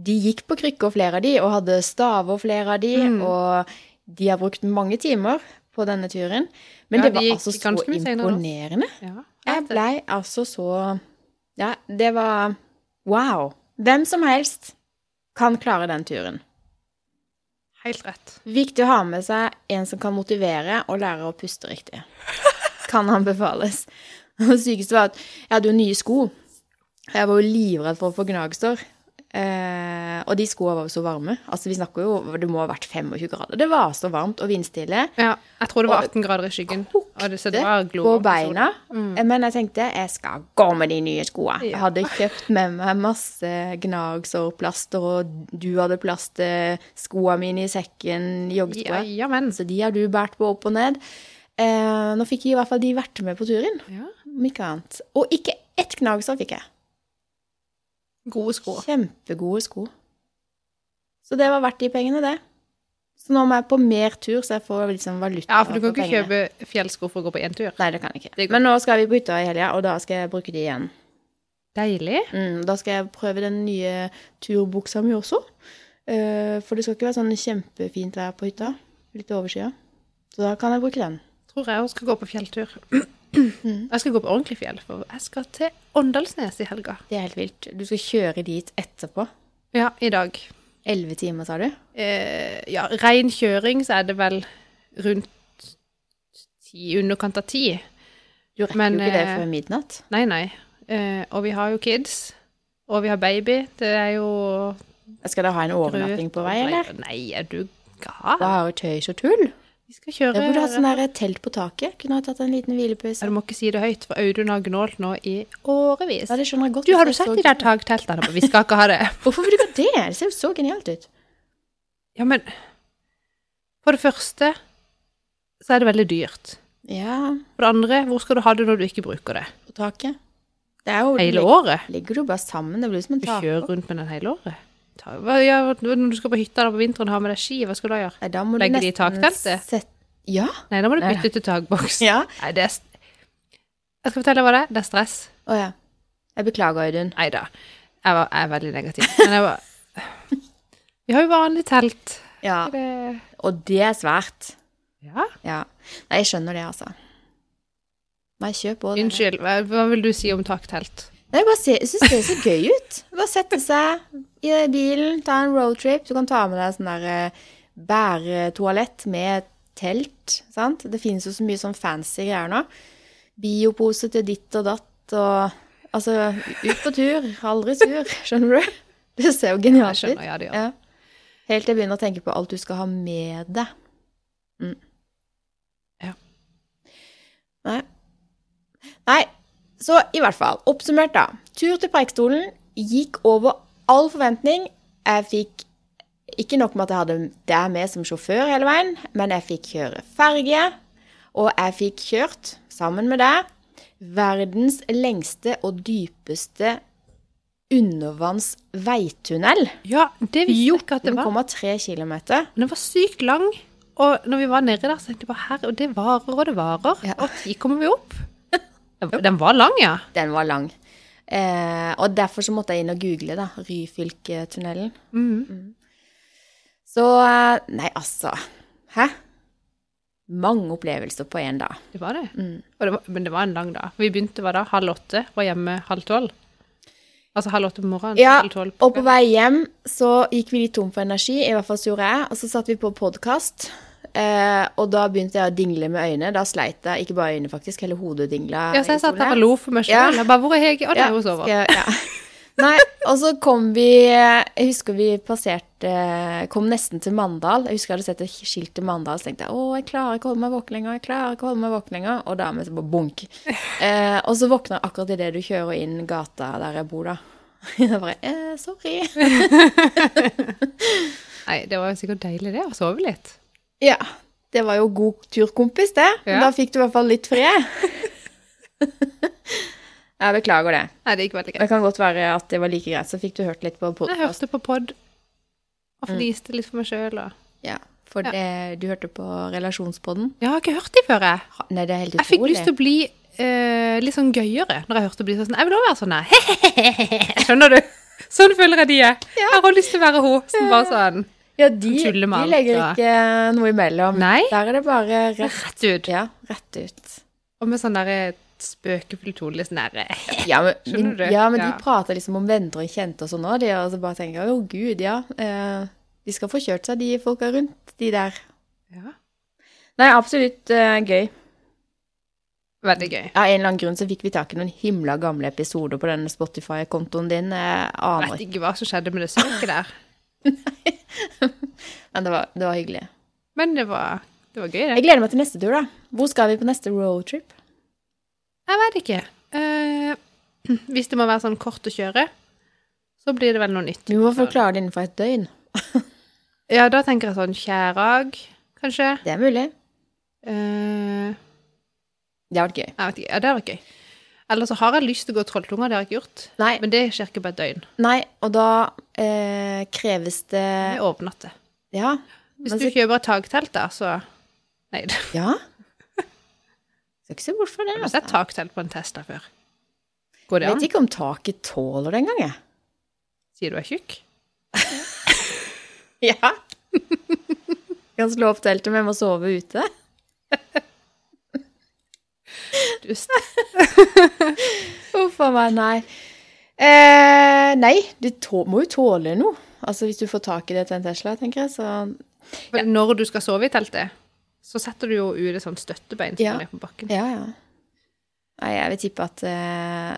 C: de gikk på krykker, flere av de, og hadde staver, flere av de,
A: Mm.
C: og de har brukt mange timer på denne turen. Men
A: Ja,
C: det
A: de
C: var
A: gikk
C: altså så
A: ganske mye senere enn oss.
C: imponerende.
A: Ja,
C: Jeg
A: vet det.
C: blei altså så Ja, det var Wow! Hvem som helst kan klare den turen.
A: Helt rett.
C: Viktig å ha med seg en som kan motivere og lære å puste riktig. Kan anbefales. Og det sykeste var at jeg hadde jo nye sko. Jeg var jo livredd for å få gnagsår. Eh, og de skoene var jo så varme. Altså, vi snakker jo Det må ha vært 25 grader. Det var så varmt og vindstille.
A: Ja, jeg tror det var
C: Og-
A: 18 grader i skyggen. Og det, så det var
C: Kokte på
A: glovarmt.
C: beina.
A: Mm.
C: Men jeg tenkte jeg skal gå med de nye skoene. Jeg hadde kjøpt med meg masse gnagsårplaster, og du hadde plaster skoene mine i sekken,
A: Ja,
C: joggeskoene.
A: ja, men.
C: Så de har du båret på opp og ned. Eh, nå fikk jeg i hvert fall de vært med på turen,
A: Ja.
C: om ikke annet. Og ikke ett gnagsår fikk jeg.
A: Gode sko.
C: Kjempegode sko. Så det var verdt de pengene, det. Så nå må jeg på mer tur, så jeg får liksom valuta
A: Ja, for du kan
C: for
A: ikke
C: pengene.
A: kjøpe fjellsko for å gå på én tur.
C: Nei, det kan jeg ikke.
A: Det går.
C: Men nå skal vi på hytta i helga, og da skal jeg bruke de igjen.
A: Deilig.
C: Mm, da skal jeg prøve den nye turbuksa mi også. Eh, for det skal ikke være sånn kjempefint vær på hytta. Litt overskya. Så da kan jeg bruke den.
A: Tror jeg også skal gå på fjelltur. Jeg skal gå på ordentlig fjell, for jeg skal til Åndalsnes i helga.
C: Det er helt vilt. Du skal kjøre dit etterpå.
A: Ja, i dag.
C: Elleve timer, sa du?
A: Eh, ja, ren kjøring så er det vel rundt ti, i underkant av ti.
C: Du rekker
A: Men,
C: jo ikke det
A: eh,
C: før midnatt.
A: Nei, nei. Eh, og vi har jo kids. Og vi har baby. Det er jo
C: Skal dere ha en overnatting
A: grøt
C: på
A: og
C: vei,
A: greier.
C: eller?
A: Nei, er du gal?
C: Da er jo tøys og tull.
A: Vi skal kjøre
C: Jeg burde hatt sånn der telt på taket. Kunne ha tatt en liten
A: Ja,
C: hvilepause.
A: Du må ikke si det høyt, for Audun har gnålt nå i årevis.
C: Ja, det skjønner jeg godt.
A: Du, har du
C: Det ser
A: sett
C: så
A: de der takteltene? Vi skal ikke ha det.
C: Hvorfor vil du ikke ha det? Det ser jo så genialt ut.
A: Ja, men For det første så er det veldig dyrt.
C: Ja,
A: For det andre, hvor skal du ha det når du ikke bruker det?
C: på taket. Det er jo
A: Hele året?
C: Ligger du bare sammen? Det blir jo som en
A: Du kjører
C: taker.
A: rundt med den hele året. Ta, hva, ja, når du skal på hytta da på vinteren og ha med deg ski, hva skal du da gjøre?
C: Nei, da må
A: Legger
C: du
A: de i
C: nesten
A: takteltet?
C: sette- Ja.
A: Nei, da må du
C: Nei,
A: bytte til takboks.
C: Ja.
A: Nei, det er st- Jeg skal fortelle deg hva det er. Det er stress.
C: Å ja. Jeg beklager, Audun.
A: Nei da. Jeg, var- jeg er veldig negativ. Men jeg var Vi har jo vanlig telt.
C: Ja.
A: Er det-
C: Og det er svært.
A: Ja.
C: Ja. Nei, jeg skjønner det, altså. Nei, kjøp på det.
A: Unnskyld, hva, hva vil du si om taktelt?
C: Nei, bare se, jeg synes det ser gøy ut. Bare sette seg i bilen, ta en roadtrip. Du kan ta med deg sånn der eh, bæretoalett med telt, sant? Det finnes jo så mye sånn fancy greier nå. Biopose til ditt og datt og... Altså, ut på tur, aldri sur, skjønner du? Det ser jo
A: Jeg
C: genialt ut.
A: skjønner, ja, det gjør det.
C: Ja. Helt til jeg begynner å tenke på alt du skal ha med deg. Mm.
A: Ja.
C: Nei. Nei. Så i hvert fall, oppsummert da. Tur til Preikestolen gikk over all forventning. Jeg fikk ikke nok med at jeg hadde deg med som sjåfør hele veien, men jeg fikk kjøre ferge, og jeg fikk kjørt, sammen med deg, verdens lengste og dypeste undervanns veitunnel.
A: Ja, det visste jeg ikke at det var.
C: 14,3 km.
A: Men Den var sykt lang, og når vi var nedi der, så tenkte jeg bare her, og det varer og det varer.
C: Ja.
A: Og ti kommer vi opp. Den var lang, ja.
C: Den var lang. Eh, og derfor så måtte jeg inn og google da, Ryfylketunnelen. Mm.
A: Mhm.
C: Så eh, Nei, altså. Hæ? Mange opplevelser på én dag.
A: Det var det. Og det var, men det var en lang dag. Vi begynte hva da? Halv åtte, var hjemme halv tolv. Altså halv åtte på morgenen,
C: Ja,
A: halv tolv
C: og på vei hjem så gikk vi litt tom for energi, i hvert fall så gjorde jeg, og så satt vi på podkast. Eh, og da begynte jeg å dingle med øynene. Da sleit jeg, ikke bare øynene faktisk, hele hodet dingla.
A: Ja, så
C: i
A: jeg satt
C: stolen her.
A: der og lo for meg
C: Ja.
A: sjøl. Jeg bare Hvor er Hege? Å, der
C: Ja,
A: er hun sover.
C: skal jeg- ja. Nei, og så kom vi Jeg husker vi passerte Kom nesten til Mandal. Jeg husker jeg hadde sett et skilt til Mandal, så tenkte jeg å, jeg klarer ikke å holde meg våken lenger. jeg klarer ikke å holde meg våken lenger, Og dermed så bare bunk. Eh, og så våkner jeg akkurat idet du kjører inn gata der jeg bor, da. Jeg bare eh, sorry.
A: Nei, det var jo sikkert deilig, det. Å sove litt.
C: Ja. Det var jo god turkompis, det.
A: Ja.
C: Da fikk du i hvert fall litt fred. Jeg beklager det.
A: Nei, det gikk veldig greit.
C: Det kan godt være at det var like greit. Så fikk du hørt litt på
A: Jeg
C: podkasten.
A: hørte på pod og fniste litt for meg sjøl og
C: Ja, for
A: Ja.
C: Det, du hørte på relasjonspodden?
A: Jeg har ikke hørt de før, jeg.
C: Ha- Nei, det er helt
A: Jeg fikk
C: utrolig.
A: lyst til å bli eh, litt sånn gøyere når jeg hørte å bli sånn. Jeg vil også være sånn, jeg. Skjønner du? Sånn føler jeg de er. Jeg har lyst til å være hun som bare sånn
C: Ja, de,
A: tulle med
C: de
A: alt,
C: legger
A: da.
C: ikke eh, noe imellom.
A: Nei.
C: Der er det bare rett,
A: rett ut.
C: ja, rett ut.
A: Og med sånn derre spøkefull tone, litt sånn derre
C: Ja, men,
A: Skjønner du?
C: Ja, men
A: Ja.
C: de prater liksom om venner og kjente og sånn òg, de, og så bare tenker jeg, å gud, ja. Eh, de skal få kjørt seg, de folka rundt, de der.
A: ja.
C: Nei, absolutt eh, gøy.
A: Veldig gøy.
C: Av en eller annen grunn så fikk vi tak i noen himla gamle episoder på denne Spotify-kontoen din. Eh,
A: Jeg
C: aner
A: vet
C: ikke.
A: ikke hva som skjedde med det søket der,
C: Men det var, det var hyggelig.
A: men det var, det var gøy, det.
C: Jeg gleder meg til neste tur, da. Hvor skal vi på neste roadtrip?
A: Jeg vet ikke. Eh, hvis det må være sånn kort å kjøre, så blir det vel noe nytt.
C: Vi må forklare det innenfor et døgn.
A: Ja, da tenker jeg sånn Kjærag, kanskje.
C: Det er mulig.
A: Eh,
C: Det har vært gøy.
A: jeg vet ikke. Ja, det hadde vært gøy. Eller så har jeg lyst til å gå Trolltunga, det har jeg ikke gjort.
C: Nei,
A: Men det skjer ikke på et døgn.
C: nei og da eh, kreves det
A: Det er overnatte.
C: Ja.
A: Hvis
C: men
A: du
C: så-
A: kjøper et taktelt, da, så Nei, det-
C: ja. Skal ikke se bort fra det.
A: jeg har
C: Altså.
A: sett taktelt på en Tesla før. Går det
C: Jeg
A: an?
C: vet ikke om taket tåler det engang, jeg.
A: Sier du er tjukk?
C: Ja. kan slå opp teltet, men jeg må sove ute.
A: Dust.
C: Uff a meg, nei. Eh, nei, det tå må jo tåle noe. Altså hvis du får tak i det til en Tesla, tenker jeg, så
A: For Når du skal sove i teltet, så setter du jo ut et sånt støttebein som
C: Ja.
A: går ned på bakken.
C: Ja, ja. Nei, jeg vil tippe at eh,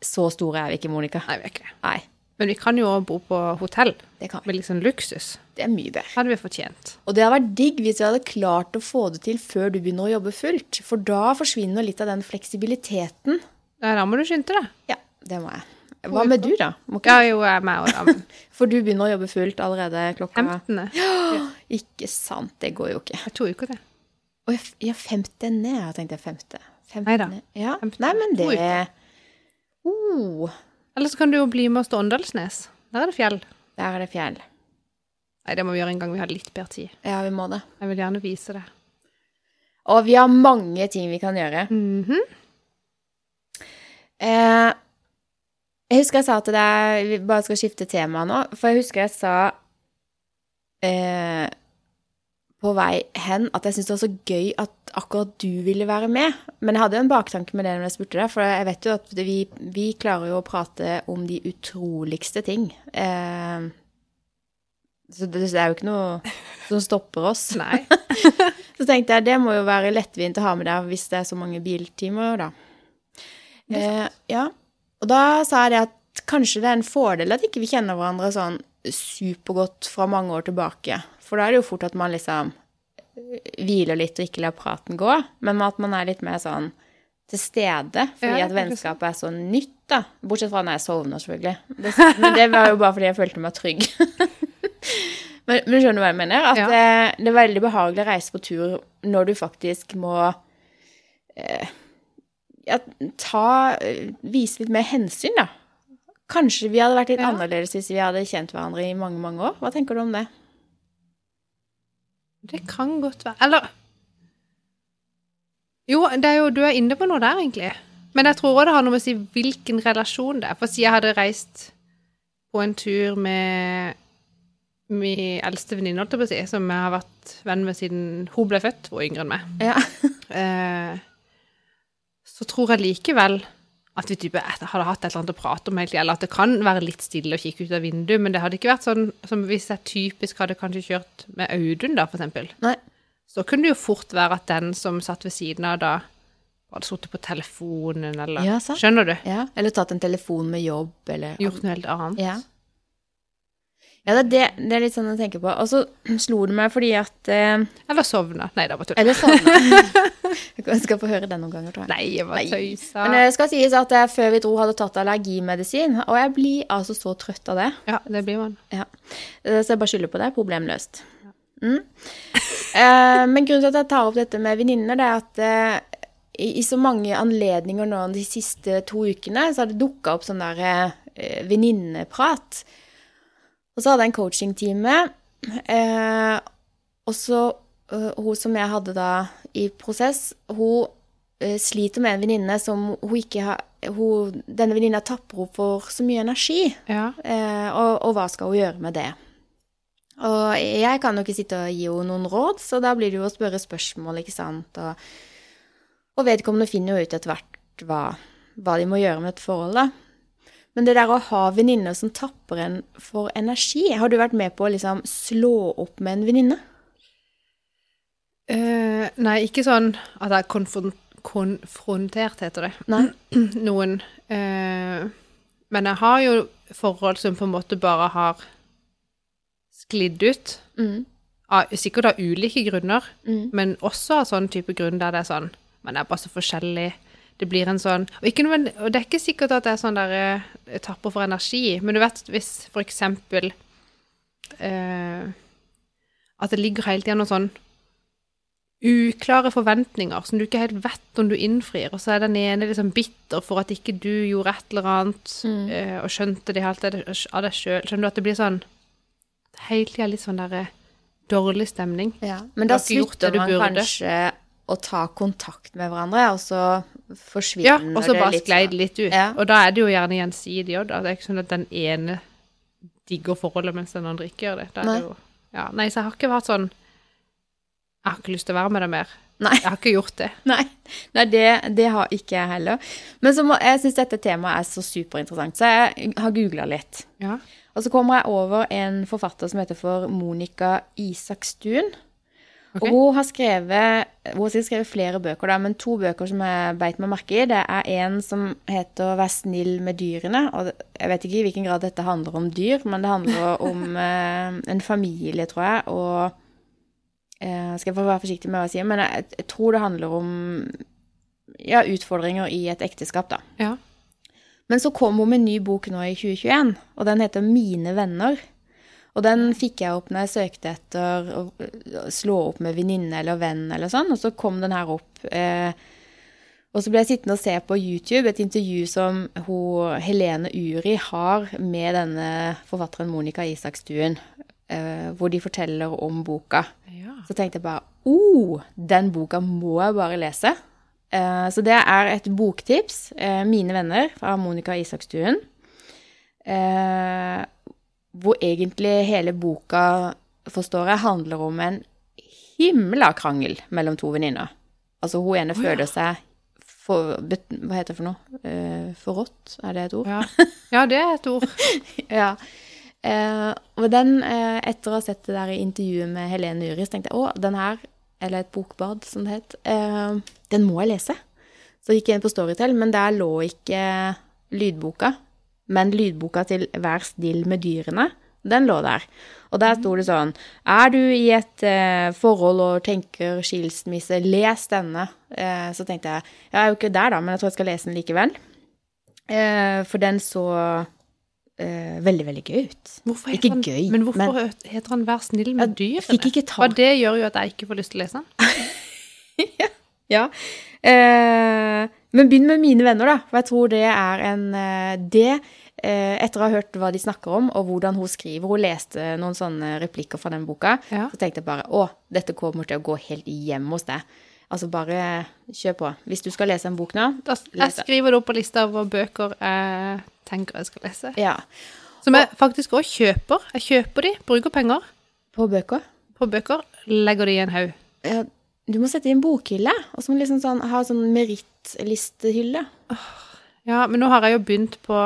C: Så store er vi ikke, Monica.
A: Nei, vi er ikke det.
C: Nei.
A: Men vi kan jo også bo på hotell
C: Det kan vi.
A: med liksom luksus.
C: Det er mye bedre.
A: Hadde vi fortjent.
C: Og det hadde vært digg hvis vi hadde klart å få det til før du begynner å jobbe fullt. For da forsvinner litt av den fleksibiliteten.
A: Nei, da må du skynde deg.
C: Ja, det må jeg. Hva med du, da? Må
A: Ja,
C: ikke...
A: jo, jeg er med og da, men
C: For du begynner å jobbe fullt allerede klokka
A: 15.
C: Ikke sant, det går jo ikke.
A: Jeg tror jo ikke det.
C: Å, jeg- ja, femte ned, jeg tenkte jeg femte. Femte
A: Neida.
C: ned. Ja.
A: Femte.
C: Nei, men
A: To
C: det oh,
A: Eller så kan du jo bli med oss til Åndalsnes. Der er det fjell.
C: Der er det fjell.
A: Nei, det må vi gjøre en gang vi har litt bedre tid.
C: Ja, vi må det.
A: Jeg vil gjerne vise det.
C: Og vi har mange ting vi kan gjøre.
A: Mhm.
C: Eh, jeg husker jeg sa til deg Vi bare skal skifte tema nå. For jeg husker jeg sa eh, på vei hen at jeg syntes det var så gøy at akkurat du ville være med. Men jeg hadde jo en baktanke med det når jeg spurte deg, for jeg vet jo at vi, vi klarer jo å prate om de utroligste ting. Eh, så det, så det er jo ikke noe som stopper oss.
A: Nei.
C: Så tenkte jeg det må jo være lettvint å ha med deg hvis det er så mange biltimer, da. Eh, ja. Og da sa jeg det at kanskje det er en fordel at ikke vi kjenner hverandre sånn supergodt fra mange år tilbake. For da er det jo fort at man liksom hviler litt og ikke lar praten gå, men at man er litt mer sånn til stede, fordi
A: Ja, det er
C: at
A: sant.
C: vennskapet er så nytt, da. Bortsett fra når jeg sovner, selvfølgelig. Det, men det var jo bare fordi jeg følte meg trygg. men, men skjønner du hva jeg mener? At
A: Ja.
C: eh, det er veldig behagelig å reise på tur når du faktisk må eh, ja, ta eh, Vise litt mer hensyn, da. Kanskje vi hadde vært litt
A: Ja.
C: annerledes hvis vi hadde kjent hverandre i mange, mange år. Hva tenker du om det?
A: Det kan godt være Eller Jo, det er jo, du er inne på noe der, egentlig. Men jeg tror òg det har noe med å si hvilken relasjon det er. For si jeg hadde reist på en tur med min eldste venninne, holdt jeg på å si, som jeg har vært venn med siden hun ble født, hun var yngre enn meg.
C: Ja.
A: eh, så tror jeg likevel at vi type et- hadde hatt et eller annet å prate om hele tiden, eller at det kan være litt stille å kikke ut av vinduet, men det hadde ikke vært sånn som hvis jeg typisk hadde kanskje kjørt med Audun da, for eksempel.
C: Nei.
A: Så kunne det jo fort være at den som satt ved siden av da, hadde sittet på telefonen, eller
C: Ja, sant.
A: Skjønner du?
C: Ja, eller tatt en telefon med jobb, eller
A: Gjort noe helt annet.
C: Ja. Ja, det, er det, det er litt sånn å tenke på. Og så slo det meg fordi at eh,
A: Eller sovna. Nei, det var tull.
C: Eller sovna. jeg skal få høre det noen ganger, tror jeg.
A: Nei, eh, jeg var
C: Nei.
A: tøysa.
C: Men det skal sies at jeg før vi dro hadde tatt allergimedisin, og jeg blir altså så trøtt av det.
A: Ja, det blir man.
C: Ja. Eh, Så jeg bare skylder på deg. Problem løst. Mm. Eh, Men grunnen til at jeg tar opp dette med venninner, det er at eh, i i så mange anledninger nå de siste to ukene, så har det dukka opp sånn der eh, venninneprat. Og så hadde jeg en coachingtime, eh, og så eh, hun som jeg hadde da i prosess, hun eh, sliter med en venninne som hun ikke har hun, Denne venninna tapper henne for så mye energi.
A: Ja.
C: Eh, og, og hva skal hun gjøre med det? Og jeg kan jo ikke sitte og gi henne noen råd, så da blir det jo å spørre spørsmål, ikke sant. Og, og vedkommende finner jo ut etter hvert hva, hva de må gjøre med et forhold, da. Men det der å ha venninner som tapper en for energi, har du vært med på å liksom slå opp med en venninne?
A: Eh, nei, ikke sånn at jeg er konfron konfrontert, heter det.
C: Nei.
A: Noen. eh, men jeg har jo forhold som på en måte bare har sklidd ut.
C: Mm,
A: Av, sikkert av ulike grunner,
C: Mm.
A: men også av sånn type grunn der det er sånn Man er bare så forskjellig. Det blir en sånn Og, ikke, nødvendig- og det er ikke sikkert at det er sånn der eh, tapper for energi, men du vet hvis for eksempel eh, At det ligger hele tiden noen sånn uklare forventninger som du ikke helt vet om du innfrir, og så er den ene liksom bitter for at ikke du gjorde et eller annet
C: Mm.
A: eh, og skjønte det helt av deg- av deg sjøl. Skjønner du at det blir sånn hele tida litt sånn derre dårlig stemning.
C: ja. Men
A: Du
C: da
A: har ikke gjort det
C: slutter
A: du
C: man
A: burde.
C: kanskje å ta kontakt med hverandre, og så
A: Ja,
C: forsvinner
A: og så
C: det
A: bare
C: litt
A: sklei
C: sånn.
A: det litt ut.
C: Ja.
A: Og da er det jo gjerne gjensidig òg, da. Det er ikke sånn at den ene digger forholdet mens den andre ikke gjør det. Da er
C: Nei.
A: det jo ja. Nei, så jeg har ikke vært sånn Jeg har ikke lyst til å være med deg mer.
C: Nei.
A: Jeg har ikke gjort det.
C: Nei, nei det, det har ikke jeg heller. Men så må, jeg syns dette temaet er så superinteressant, så jeg har googla litt.
A: Ja.
C: Og så kommer jeg over en forfatter som heter for Monica Isakstuen.
A: Ok.
C: Og hun har skrevet, hun har sikkert skrevet flere bøker, da, men to bøker som jeg beit meg merke i. Det er en som heter 'Vær snill med dyrene'. og det- Jeg vet ikke i hvilken grad dette handler om dyr, men det handler om eh, en familie, tror jeg. Og eh, skal jeg få være forsiktig med hva jeg sier, men jeg, jeg tror det handler om ja, utfordringer i et ekteskap, da.
A: Ja.
C: Men så kom hun med en ny bok nå i 2021, og den heter Mine venner. Og den fikk jeg opp når jeg søkte etter å å slå opp med venninne eller venn eller sånn, og så kom den her opp. Eh, Og så ble jeg sittende og se på YouTube et intervju som hun, Helene Uri har med denne forfatteren Monica Isakstuen, eh, hvor de forteller om boka.
A: Ja.
C: Så tenkte jeg bare oh, den boka må jeg bare lese. Eh, så det er et boktips, eh, 'Mine venner' fra Monica Isakstuen. Eh, hvor egentlig hele boka, forstår jeg, handler om en himla krangel mellom to venninner. Altså hun ene føler seg for, bet- Hva heter det for noe? Eh, forrådt, er det et ord?
A: Ja. ja, det er et ord.
C: Ja. Eh, og den, eh, etter å ha sett det der i intervjuet med Helene Uris, tenkte jeg å, den her, eller et bokbad som det het, eh, den må jeg lese. Så gikk jeg inn på Storytel, men der lå ikke lydboka. Men lydboka til Vær still med dyrene, den lå der. Og der sto det sånn Er du i et eh, forhold og tenker skilsmisse, les denne. Eh, så tenkte jeg Jeg er jo ikke der, da, men jeg tror jeg skal lese den likevel. Eh, for den så eh, veldig, veldig gøy ut.
A: Hvorfor
C: Ikke
A: heter han,
C: gøy,
A: Men hvorfor
C: men-
A: heter han 'Vær snill med dyrene'?
C: fikk ikke tak-
A: Og det gjør jo at jeg ikke får lyst til å lese den.
C: Ja. Eh, men begynn med mine venner, da. For jeg tror det er en eh, Det, eh, etter å ha hørt hva de snakker om, og hvordan hun skriver Hun leste noen sånne replikker fra den boka.
A: Ja.
C: Så tenkte jeg bare å, dette kommer til å gå helt hjem hos deg. Altså bare kjør på. Hvis du skal lese en bok nå
A: Da, jeg skriver det opp på lista over bøker jeg tenker jeg skal lese.
C: Ja.
A: Som jeg faktisk òg kjøper. Jeg kjøper de, bruker penger
C: På bøker.
A: på bøker, legger de i en haug.
C: Ja, du må sette i en bokhylle, og så må du liksom sånn, ha sånn merittlistehylle.
A: Ja, men nå har jeg jo begynt på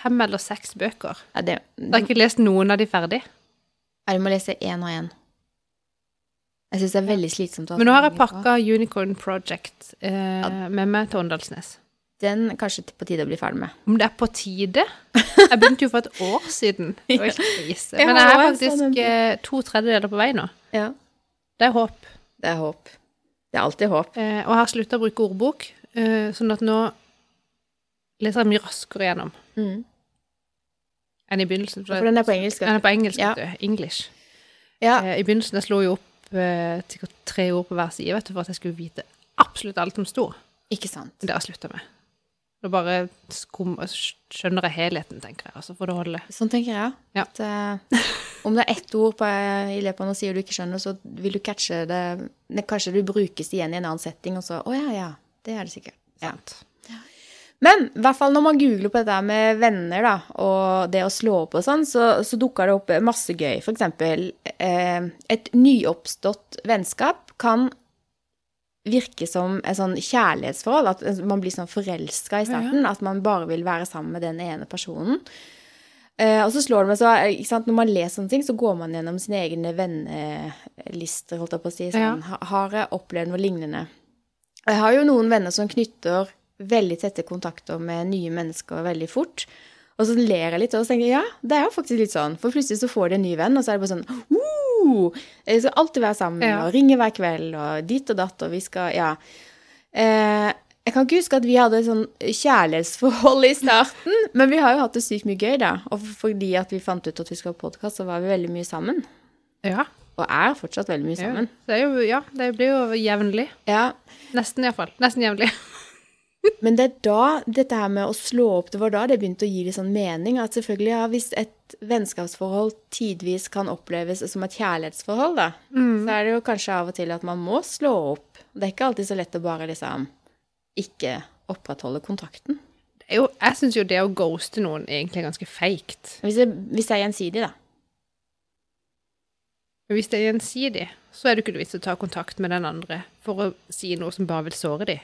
A: fem eller seks bøker.
C: Ja, det,
A: Jeg har ikke lest noen av de ferdig.
C: Ja, du må lese én og én. Jeg syns det er veldig slitsomt. å ha
A: Men nå
C: så
A: har jeg
C: mange på.
A: pakka Unicorn Project eh, med meg til Åndalsnes.
C: Den er kanskje på tide å bli ferdig med.
A: Om det er på tide? Jeg begynte jo for et år siden. Det var helt krise.
C: Ja,
A: Men jeg er
C: det var en sånn en
A: faktisk eh, to tredjedeler på vei nå.
C: Ja.
A: Det er håp.
C: Det er håp. Det er alltid håp.
A: Eh, og jeg har slutta å bruke ordbok, eh, sånn at nå leser jeg mye raskere gjennom enn i begynnelsen.
C: Mm. For den er på engelsk.
A: Den er på engelsk,
C: Ja.
A: vet du. English.
C: Ja.
A: Eh, I begynnelsen jeg slo jeg jo opp eh, sikkert tre ord på hver side vet du, for at jeg skulle vite absolutt alt som sto.
C: Ikke sant.
A: Men det har jeg slutta med. Da bare skum, skjønner jeg helheten, tenker jeg. Altså, for det holder.
C: Sånn tenker jeg.
A: Ja.
C: At, eh, om det er ett ord på, eh, i løpet av noe sier du ikke skjønner, så vil du catche det, det Kanskje du brukes igjen i en annen setting, og så Å ja, ja. Det er det sikkert. Ja.
A: Sant.
C: Men i hvert fall når man googler på dette her med venner da, og det å slå opp og sånn, så, så dukker det opp masse gøy. For eksempel eh, et nyoppstått vennskap kan virke som et sånn kjærlighetsforhold. At man blir sånn forelska i starten. At man bare vil være sammen med den ene personen. Eh, og så slår det meg så, eh, ikke sant, Når man leser sånne ting, så går man gjennom sine egne vennelister. holdt jeg på å si,
A: Ja.
C: sånn, ha- Har jeg opplevd noe lignende? Og Jeg har jo noen venner som knytter veldig tette kontakter med nye mennesker veldig fort. Og så ler jeg litt, og så tenker jeg ja, det er jo faktisk litt sånn. For plutselig så får de en ny venn, og så er det bare sånn «Oh, Jeg skal alltid være sammen,
A: Ja.
C: og ringe hver kveld, og dit og datt, og vi skal Ja. Eh, jeg kan ikke huske at vi hadde et sånn kjærlighetsforhold i starten, men vi har jo hatt det sykt mye gøy, da. Og fordi at vi fant ut at vi skulle ha podkast, så var vi veldig mye sammen.
A: Ja.
C: Og er fortsatt veldig mye
A: Ja,
C: sammen.
A: Det, er jo, ja, det blir jo jevnlig.
C: Ja,
A: Nesten iallfall. Nesten jevnlig.
C: Men det er da dette her med å slå opp, det var da det begynte å gi litt sånn mening. At selvfølgelig, ja, hvis et vennskapsforhold tidvis kan oppleves som et kjærlighetsforhold, da, så er det jo kanskje av og til at man må slå opp. Det er ikke alltid så lett å bare liksom ikke opprettholde kontakten.
A: Det er jo, jeg syns jo det å ghoste noen egentlig er ganske feigt.
C: Hvis det, hvis det er gjensidig, da.
A: Men Hvis det er gjensidig, så er det ikke noe vits å ta kontakt med den andre for å si noe som bare vil såre dem.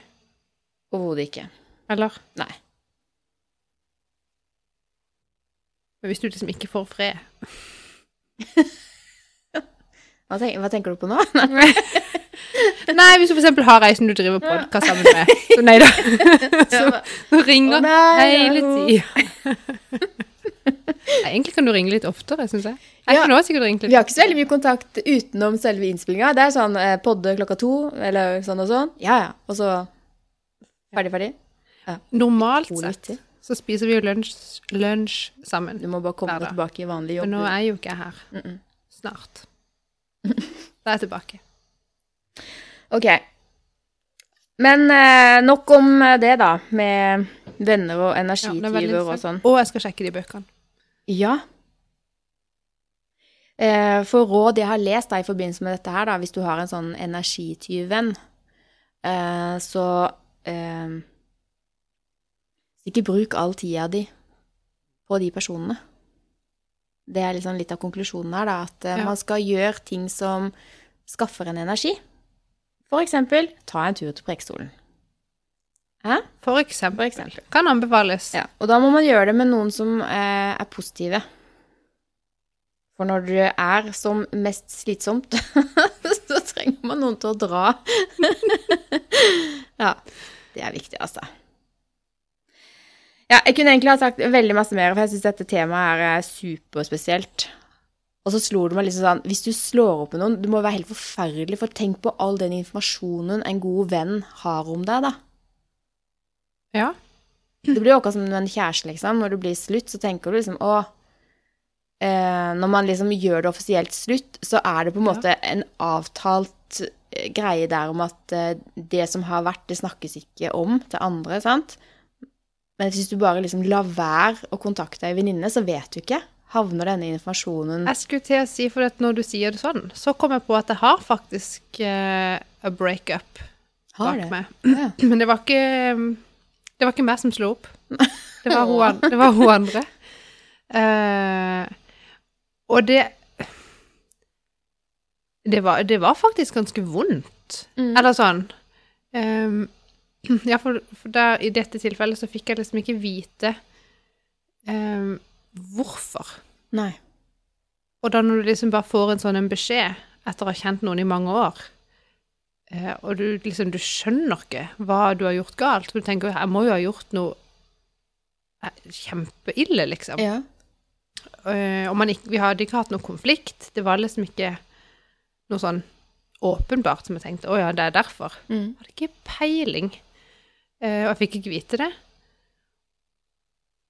C: Overhodet ikke.
A: Eller?
C: Nei.
A: Men hvis du liksom ikke får fred
C: Hva, tenk, hva tenker du på nå?
A: Nei, hvis du for eksempel har ei som du driver podkast sammen med. Så nei da. Som som ringer
C: Å nei,
A: hele
C: det er hun.
A: tida. Egentlig kan du ringe litt oftere, syns jeg. Jeg
C: Ja.
A: kunne også sikkert ringt litt
C: Vi har ikke så veldig mye kontakt utenom selve innspillinga. Det er sånn eh, podde klokka to, eller sånn og sånn. Ja, ja. Og så ferdig, ferdig.
A: Normalt
C: Utrolig
A: sett
C: vittig.
A: så spiser vi jo lunsj, lunsj sammen.
C: Du må bare komme
A: Hver dag.
C: deg tilbake i vanlig jobb.
A: Men nå
C: du.
A: er jo ikke jeg her. Snart. Da er jeg tilbake.
C: Ok. Men eh, nok om eh, det, da. Med venner og
A: Ja, det er veldig
C: energityver og sånn.
A: interessant. Og jeg skal sjekke de bøkene.
C: Ja. Eh, For råd jeg har lest da, i forbindelse med dette her, da, hvis du har en sånn energityven, eh, så eh, ikke bruk all tida di på de personene. Det er liksom litt av konklusjonen her, da, at eh,
A: Ja.
C: man skal gjøre ting som skaffer en energi. For eksempel ta en tur til Preikestolen. Hæ?
A: For eksempel.
C: For eksempel.
A: Kan anbefales.
C: Ja, og da må man gjøre det med noen som eh, er positive. For når det er som mest slitsomt, så trenger man noen til å dra. ja, det er viktig, altså. Ja, jeg kunne egentlig ha sagt veldig masse mer, for jeg syns dette temaet er eh, superspesielt. Og så slo det meg liksom sånn Hvis du slår opp med noen, du må være helt forferdelig, for tenk på all den informasjonen en god venn har om deg, da.
A: Ja.
C: Det blir jo akkurat som med en kjæreste, liksom. Når du blir slutt, så tenker du liksom å eh, Når man liksom gjør det offisielt slutt, så er det på en
A: Ja.
C: måte en avtalt eh, greie der om at eh, det som har vært, det snakkes ikke om til andre, sant? Men hvis du bare liksom lar være å kontakte ei venninne, så vet du ikke. Havner denne informasjonen
A: Jeg skulle til å si, for at når du sier det sånn, så kom jeg på at jeg har faktisk eh, a breakup bak
C: Har det?
A: meg.
C: Ja.
A: Men det var ikke um, Det var ikke meg som slo opp. Det var hun, an- det var hun andre. Eh, og det det var, det var faktisk ganske vondt.
C: Mm.
A: Eller sånn um, Ja, for, for der, i dette tilfellet så fikk jeg liksom ikke vite um, hvorfor.
C: Nei.
A: Og da når du liksom bare får en sånn en beskjed etter å ha kjent noen i mange år, eh, og du liksom du skjønner ikke hva du har gjort galt, for du tenker jeg må jo ha gjort noe eh, kjempeille, liksom.
C: Ja.
A: Eh, Og man ikke, vi hadde ikke hatt noe konflikt. Det var liksom ikke noe sånn åpenbart som jeg tenkte å ja, det er derfor.
C: Mm.
A: Jeg hadde ikke peiling. Eh, og jeg fikk ikke vite det.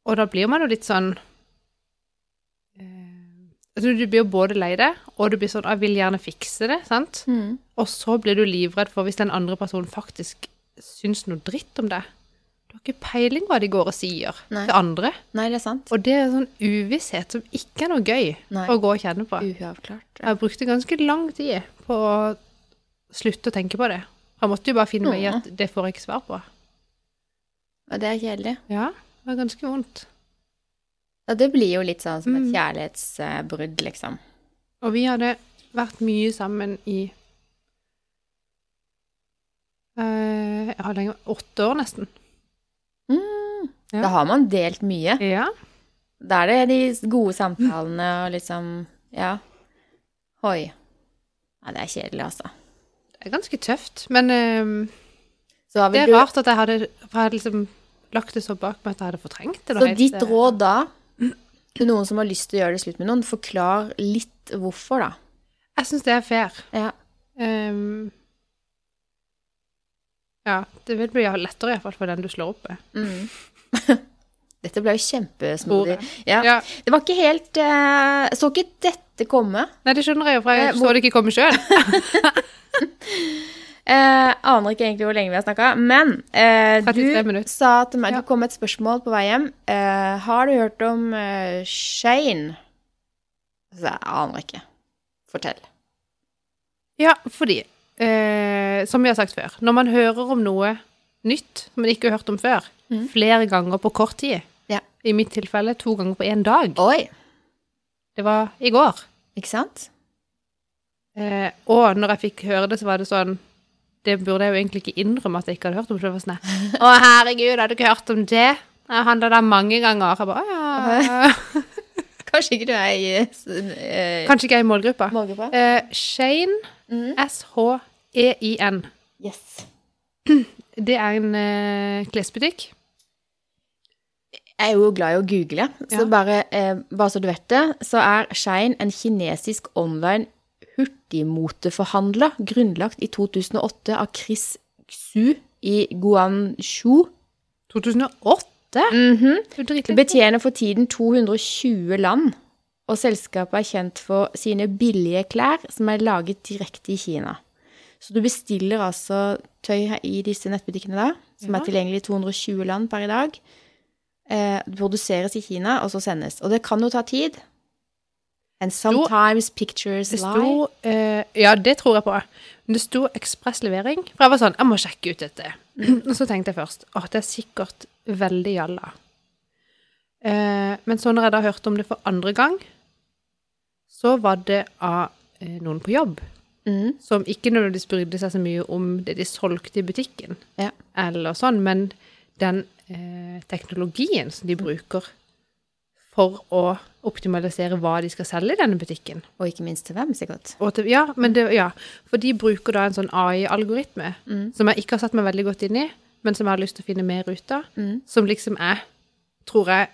A: Og da blir man jo litt sånn eh, altså Du blir jo både lei deg, og du blir sånn 'Jeg vil gjerne fikse det', sant?
C: Mm.
A: Og så blir du livredd for hvis den andre personen faktisk syns noe dritt om deg. Du har ikke peiling hva de går og sier
C: Nei.
A: til andre.
C: Nei, det er sant.
A: Og det er sånn uvisshet som ikke er noe gøy
C: Nei.
A: å gå og kjenne på.
C: Uavklart.
A: Jeg brukte ganske lang tid på å slutte å tenke på det. Jeg måtte jo bare finne meg i at det får jeg ikke svar på.
C: Og det er kjedelig.
A: Ja, det var ganske vondt.
C: Ja, det blir jo litt sånn som et
A: Mm.
C: kjærlighetsbrudd, liksom.
A: Og vi hadde vært mye sammen i eh, ja, lenge, åtte år nesten.
C: Mm.
A: Ja.
C: Da har man delt mye.
A: Ja.
C: Da er det de gode samtalene og liksom Ja. Hoi. Ja, det er kjedelig, altså.
A: Det er ganske tøft. Men eh,
C: Så, har vel
A: det er
C: du,
A: rart at jeg hadde, for jeg hadde liksom lagt det så bak meg at jeg hadde fortrengt det. da
C: så
A: helt,
C: ditt
A: eh,
C: råd da til noen som har lyst til å gjøre det slutt med noen, forklar litt hvorfor, da.
A: Jeg syns det er fair.
C: Ja.
A: Ehm, ja, det vil bli lettere iallfall for den du slår opp med.
C: Mm. Dette ble jo kjempesmodig.
A: Ordet.
C: Ja.
A: Ja.
C: Det var ikke helt eh, Så ikke dette komme.
A: Nei, det skjønner jeg jo, for
C: Eh,
A: jeg
C: hvor-
A: så det ikke komme sjøl.
C: Eh, aner ikke egentlig hvor lenge vi har snakka, men eh,
A: 33
C: du
A: minutter.
C: sa til meg
A: Ja.
C: det kom et spørsmål på vei hjem. Eh, har du hørt om eh, Shane? Så jeg aner ikke. Fortell.
A: Ja, fordi, eh, som vi har sagt før, når man hører om noe nytt som man ikke har hørt om før,
C: Mhm.
A: flere ganger på kort tid,
C: Ja.
A: i mitt tilfelle to ganger på én dag,
C: Oi!
A: det var i går,
C: Ikke sant?
A: eh, og når jeg fikk høre det, så var det sånn det burde jeg jo egentlig ikke innrømme at jeg ikke hadde hørt om. for det var sånn, her, Å, herregud, har du ikke hørt om det? Jeg handla der mange ganger. Jeg bare, «Å, ja.
C: Kanskje ikke du er i uh,
A: Kanskje ikke jeg er i målgruppa.
C: Målgruppa?
A: Eh, Shane, E
C: Mm.
A: Mhm. S-H-E-I-N.
C: Yes.
A: Det er en eh, klesbutikk.
C: Jeg er jo glad i å google, så
A: Ja.
C: bare, eh, bare så du vet det, så er Shine en kinesisk online hurtigmoteforhandler grunnlagt i 2008 av Chris Xu i Guangzhou.
A: 2008?
C: Mhm.
A: Du
C: Det
A: driter litt.
C: betjener for tiden 220 land, og selskapet er kjent for sine billige klær som er laget direkte i Kina. Så du bestiller altså tøy her i disse nettbutikkene da, som
A: Ja.
C: er tilgjengelig i 220 land per i dag. Eh, det produseres i Kina, og så sendes. Og det kan jo ta tid. And sometimes pictures
A: Det
C: lie.
A: sto eh, Ja, det tror jeg på. Men det sto ekspresslevering. For jeg var sånn Jeg må sjekke ut dette.
C: Mm.
A: Og så tenkte jeg først åh, det er sikkert veldig jalla. Eh, men så når jeg da hørte om det for andre gang, så var det av eh, noen på jobb
C: Mm.
A: som ikke nødvendigvis brydde seg så mye om det de solgte i butikken,
C: Ja.
A: eller sånn, men den eh, teknologien som de bruker for å optimalisere hva de skal selge i denne butikken.
C: Og ikke minst til hvem, sikkert.
A: Og til, ja, men det, ja, for de bruker da en sånn AI-algoritme, som jeg ikke har satt meg veldig godt inn i, men som jeg har lyst til å finne mer ut av,
C: Mm.
A: som liksom er, tror jeg,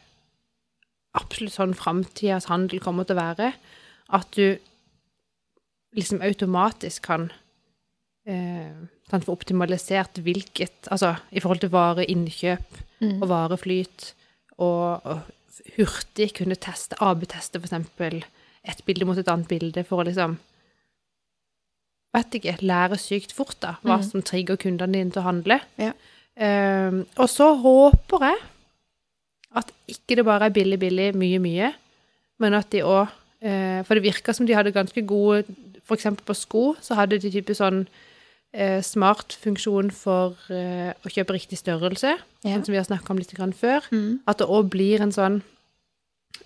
A: absolutt sånn framtidas handel kommer til å være, at du liksom automatisk kan eh, sånn få optimalisert hvilket, altså i forhold til vareinnkjøp og vareflyt, og, og hurtig kunne teste, AB-teste for eksempel, et bilde mot et annet bilde, for å liksom vet ikke, lære sykt fort da, hva som trigger kundene dine til å handle.
C: Ja.
A: Eh, og så håper jeg at ikke det bare er billig, billig, mye, mye, men at de òg For det virka som de hadde ganske gode For eksempel på sko så hadde de type sånn eh, smart funksjon for eh, å kjøpe riktig størrelse,
C: Ja.
A: sånn som vi har snakka om litt grann før. At det òg blir en sånn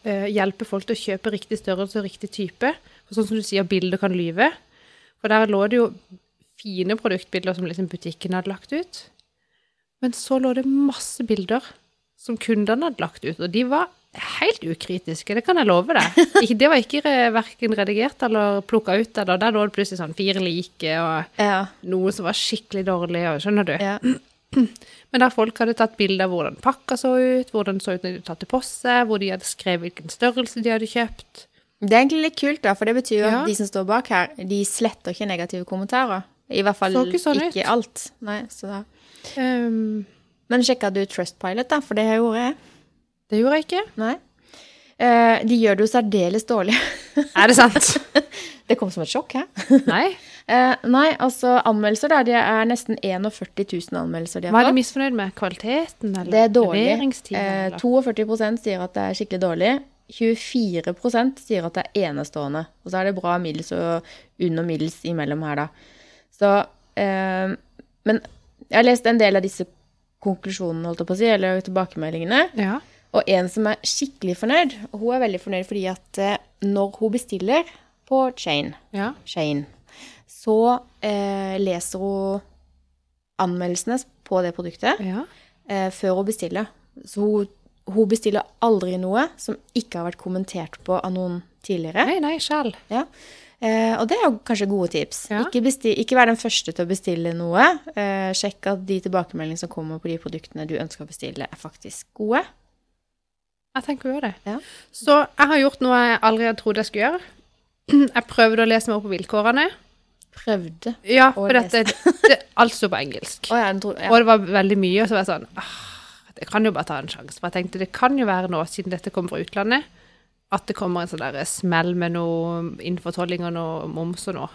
A: eh, Hjelpe folk til å kjøpe riktig størrelse og riktig type. For sånn som du sier, bilder kan lyve. For der lå det jo fine produktbilder som liksom butikken hadde lagt ut. Men så lå det masse bilder som kundene hadde lagt ut, og de var helt ukritiske, det kan jeg love deg. Ikke, det var ikke eh, verken redigert eller plukka ut, eller der lå det plutselig sånn fire like, og
C: Ja,
A: noe som var skikkelig dårlig, og skjønner du?
C: ja.
A: Men der folk hadde tatt bilder av hvordan pakka så ut, hvordan det så ut når de hadde tatt det på seg, hvor de hadde skrevet hvilken størrelse de hadde kjøpt.
C: Det er egentlig litt kult, da, for det betyr jo
A: Ja.
C: at de som står bak her, de sletter ikke negative kommentarer. I hvert fall
A: Så ikke
C: ikke,
A: sånn ut.
C: alt. Nei, så da.
A: Ehm,
C: Men sjekka du Trustpilot, da? For det har jeg gjort jeg.
A: det gjorde jeg ikke.
C: Nei. Eh, de gjør det jo særdeles dårlig.
A: Er det sant?
C: det kom som et sjokk, hæ?
A: Nei.
C: Eh, nei, altså anmeldelser, da. Det er nesten 41 000 anmeldelser de
A: Hva
C: har
A: er de
C: fått.
A: misfornøyd med? Kvaliteten, eller
C: Det er dårlig.
A: leveringstiden?
C: Eh,
A: eller?
C: 42 sier at det er skikkelig dårlig. 24 sier at det er enestående. Og så er det bra middels og under middels imellom her, da. Så eh, Men jeg har lest en del av disse konklusjonene, holdt jeg på å si, eller tilbakemeldingene.
A: Ja.
C: Og en som er skikkelig fornøyd, og hun er veldig fornøyd fordi at eh, når hun bestiller på Chain,
A: ja.
C: Shane, så eh, leser hun anmeldelsene på det produktet
A: Ja.
C: eh, før hun bestiller. Så hun, hun bestiller aldri noe som ikke har vært kommentert på av noen tidligere.
A: Nei, nei, sjæl.
C: Ja. Eh, og det er jo kanskje gode tips.
A: Ja.
C: Ikke, besti ikke vær den første til å bestille noe. Eh, sjekk at de tilbakemeldingene som kommer på de produktene du ønsker å bestille, er faktisk gode.
A: Jeg tenker jo det.
C: Ja.
A: Så jeg har gjort noe jeg aldri hadde trodd jeg skulle gjøre. Jeg prøvde å lese meg opp på vilkårene.
C: Prøvde.
A: Ja,
C: Og
A: for dette det, Alt sto på engelsk.
C: Å ja, den tror ja.
A: Og det var veldig mye, og så var jeg sånn ah, Jeg kan jo bare ta en sjanse. For jeg tenkte det kan jo være nå, siden dette kommer fra utlandet, at det kommer en sånn der smell med noe innfortolling og noe moms og noe.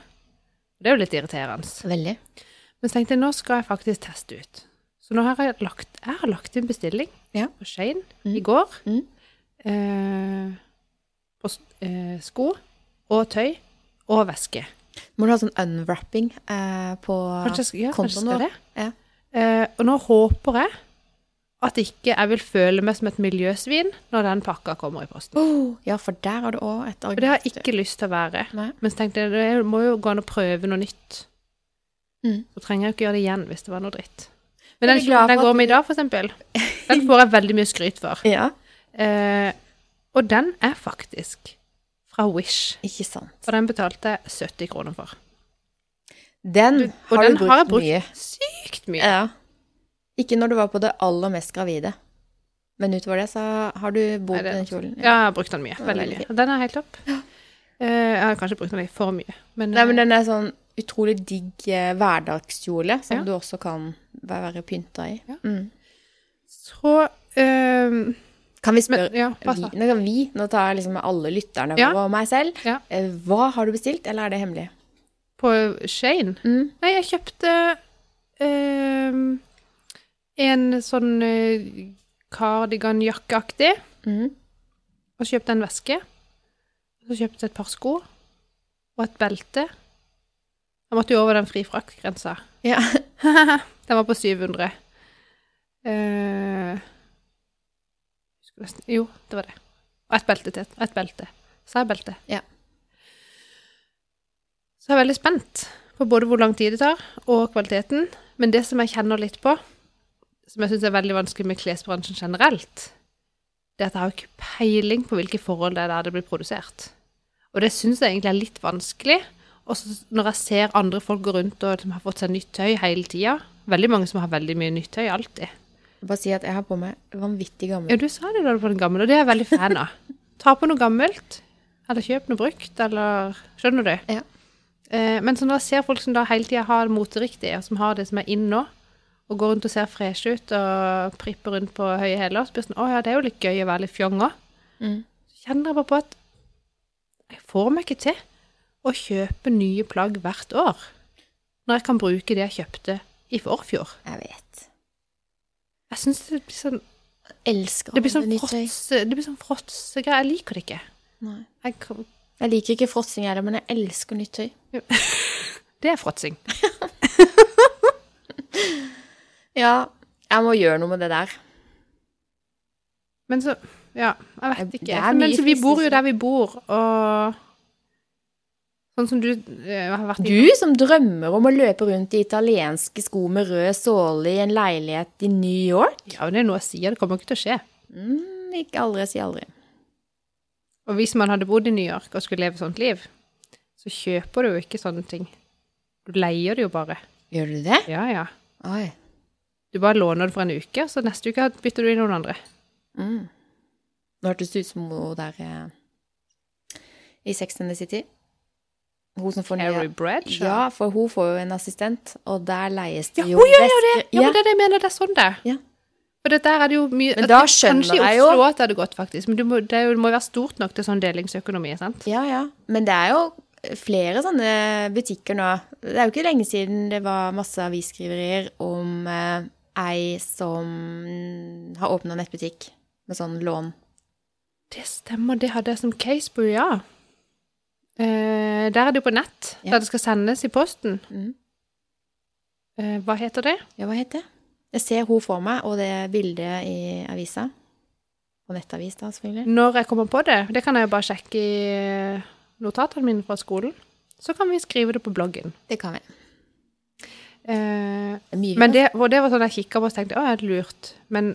A: Det er jo litt irriterende.
C: Veldig.
A: Men så tenkte jeg, nå skal jeg faktisk teste ut. Så nå har jeg lagt, jeg har lagt inn bestilling
C: Ja.
A: på Shein
C: Mm.
A: i går.
C: Mm.
A: Eh, på s- eh, sko og tøy og veske.
C: Må du ha sånn unwrapping eh, på
A: Kanskje jeg skal, ja, kanskje jeg
C: kontoen
A: skal
C: vår?
A: det.
C: Ja.
A: Eh, og nå håper jeg at ikke jeg vil føle meg som et miljøsvin når den pakka kommer i posten.
C: Oh, ja, for der har du òg et
A: For det har
C: argument.
A: jeg ikke lyst til å være.
C: Nei.
A: Men så tenkte jeg, det må jo gå an å prøve noe nytt.
C: Mm.
A: Så trenger jeg jo ikke gjøre det igjen hvis det var noe dritt. Men den
C: Jeg er
A: kjolen jeg
C: glad for at
A: går med i dag, for eksempel, den får jeg veldig mye skryt for.
C: Ja,
A: Eh, og den er faktisk fra Wish.
C: ikke sant.
A: For den betalte jeg 70 kroner for.
C: Den
A: Og
C: har
A: den
C: du brukt,
A: har jeg brukt
C: mye. Eh,
A: sykt mye.
C: Ja. Ikke når du var på det aller mest gravide. Men utover det så har du bodd
A: Nei,
C: i den
A: det-
C: kjolen.
A: Ja, jeg har brukt den mye.
C: Den er
A: Veldig
C: veldig
A: mye. Den er helt topp. Eh, jeg har kanskje brukt den litt for mye, men, eh,
C: Nei, men den er sånn utrolig digg eh, hverdagskjole som
A: Ja.
C: du også kan være, være pynta i.
A: Ja.
C: Mm.
A: så eh,
C: Kan vi spørre
A: Men ja, pass
C: vi,
A: da.
C: nå, kan vi, nå tar jeg liksom alle lytterne
A: Ja.
C: og meg selv.
A: Ja.
C: Eh, Hva har du bestilt, eller er det hemmelig?
A: På Shane?
C: Mm.
A: Nei, jeg kjøpte ehm, en sånn eh, cardigan-jakkeaktig.
C: Mhm.
A: Og så kjøpte jeg en veske. Og så kjøpte jeg et par sko. Og et belte. Jeg måtte jo over den frifraktgrensa.
C: Ja.
A: den var på 700. Eh, husker nesten- jo, det var det. Og et belte til. Og et belte. Sa jeg belte?
C: Ja.
A: Så jeg er veldig spent på både hvor lang tid det tar, og kvaliteten. Men det som jeg kjenner litt på, som jeg syns er veldig vanskelig med klesbransjen generelt, det er at jeg har jo ikke peiling på hvilke forhold det er der det blir produsert. Og det syns jeg egentlig er litt vanskelig. Og så når jeg ser andre folk gå rundt og som har fått seg nytt tøy hele tida Veldig mange som har veldig mye nytt tøy alltid.
C: Bare si at jeg har på meg vanvittig
A: Ja,
C: gammel.
A: du sa det da du var den gamle, og det er jeg veldig fan av. Ta på noe gammelt, eller kjøp noe brukt, eller Skjønner du?
C: Ja.
A: Eh, men så når jeg ser folk som da hele tida har moteriktig, og som har det som er inn nå, og går rundt og ser freshe ut og pripper rundt på høye hæler, så blir det sånn Å ja, det er jo litt gøy å være litt fjong òg.
C: Mm.
A: Så kjenner jeg bare på at jeg får meg ikke til å kjøpe nye plagg hvert år, når jeg kan bruke det jeg kjøpte i forfjor.
C: Jeg vet.
A: Jeg syns det blir sånn
C: Jeg elsker
A: Det blir sånn
C: nytt tøy.
A: fråtse- det blir sånn fråtsegreier. Jeg liker det ikke.
C: Nei.
A: Jeg, kan-
C: Jeg liker ikke fråtsing heller, men jeg elsker nytt tøy.
A: det er fråtsing.
C: Ja, jeg må gjøre noe med det der.
A: Men så Ja, jeg vet
C: Det
A: ikke.
C: er
A: Men
C: mye
A: så vi bor jo
C: fristelse.
A: der vi bor, og Sånn som du eh, har vært
C: Du som drømmer om å løpe rundt i italienske sko med rød såle i en leilighet i New York?
A: Ja, men det er noe jeg sier. Det kommer ikke til å skje.
C: Mm, ikke aldri si aldri.
A: Og hvis man hadde bodd i New York og skulle leve sånt liv, så kjøper du jo ikke sånne ting. Du leier det jo bare.
C: Gjør du det?
A: Ja, ja.
C: Oi.
A: Du bare låner det for en uke, så neste uke bytter du inn noen andre.
C: Mm. Nå hørtes det ut som hun der eh, i Sex and the City. Hun som får nye
A: Harry Bredge?
C: Ja, for hun får jo en assistent, og der leies
A: Ja,
C: det jo
A: hun gjør jo det!
C: vesker.
A: Ja, men det er det jeg mener, det er sånn det er.
C: Ja.
A: For det der er det jo mye
C: Men da
A: at-
C: skjønner
A: Kanskje
C: jeg
A: i
C: jo-
A: Oslo at det hadde gått, faktisk. Men du må, det er jo- det må jo være stort nok til sånn delingsøkonomi, sant?
C: Ja, ja. Men det er jo flere sånne butikker nå. Det er jo ikke lenge siden det var masse avisskriverier om eh, ei som har åpna nettbutikk med sånn lån.
A: Det stemmer, det hadde jeg som case på UiA. Eh, der er det jo på nett,
C: Ja.
A: der det skal sendes i posten.
C: Mhm.
A: Eh, hva heter det?
C: Ja, hva heter det? Jeg ser hun for meg, og det bildet i avisa. På nettavis, da, selvfølgelig.
A: Når jeg kommer på det, det kan jeg jo bare sjekke i eh, notatene mine fra skolen, så kan vi skrive det på bloggen.
C: Det kan vi.
A: Eh,
C: Det er mye.
A: Men det, og det var sånn jeg kikka på og tenkte å, er det lurt? Men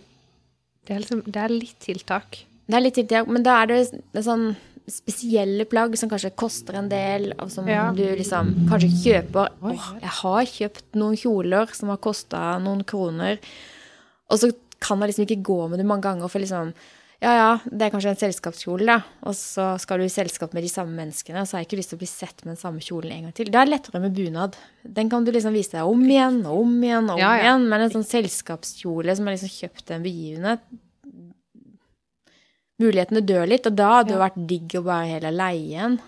A: det er, liksom, det er litt tiltak.
C: Det er litt tiltak, men da er det, det er sånn spesielle plagg som kanskje koster en del, og som
A: Ja.
C: du liksom kanskje ikke kjøper.
A: Oi.
C: Åh, jeg har kjøpt noen kjoler som har kosta noen kroner, og så kan jeg liksom ikke gå med det mange ganger, for liksom ja, ja, det er kanskje en selskapskjole, da. Og så skal du i selskap med de samme menneskene, så har jeg ikke lyst til å bli sett med den samme kjolen en gang til. Det er lettere med bunad. Den kan du liksom vise deg om igjen og om igjen og om
A: Ja, ja.
C: igjen. Men en sånn selskapskjole som er liksom kjøpt til en begivenhet, mulighetene dør litt, og da hadde det vært digg å bare hele leie en.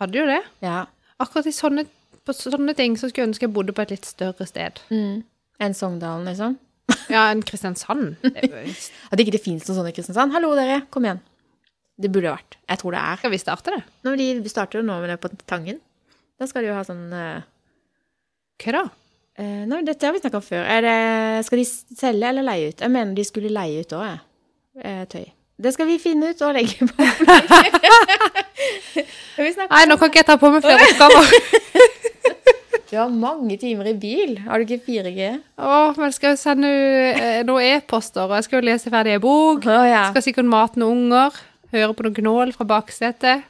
A: Hadde jo det.
C: Ja.
A: Akkurat i sånne, på sånne ting så skulle jeg ønske jeg bodde på et litt større sted.
C: En Sogndalen, liksom.
A: Ja, enn Kristiansand. Det er jo-
C: At ikke det fins noen sånne i Kristiansand. Hallo, dere, kom igjen. Det burde det vært. Jeg tror det er.
A: Skal vi starte det?
C: Når de starter jo nå med det på Tangen. Da skal de jo ha sånn eh,
A: Hva da?
C: eh, Nei, dette har vi snakka om før. Er det, skal de selge eller leie ut? Jeg mener de skulle leie ut òg, jeg. Eh, tøy. Det skal vi finne ut og legge på. vi snakker
A: Nei, nå kan ikke jeg ta på meg flere oppgaver.
C: Du har mange timer i bil. Har du ikke 4G?
A: Å, men jeg skal jo sende eh, noen e-poster, og jeg skal jo lese ferdig en bok.
C: Å ja.
A: Skal sikkert mate noen unger. Høre på noen gnål fra baksetet.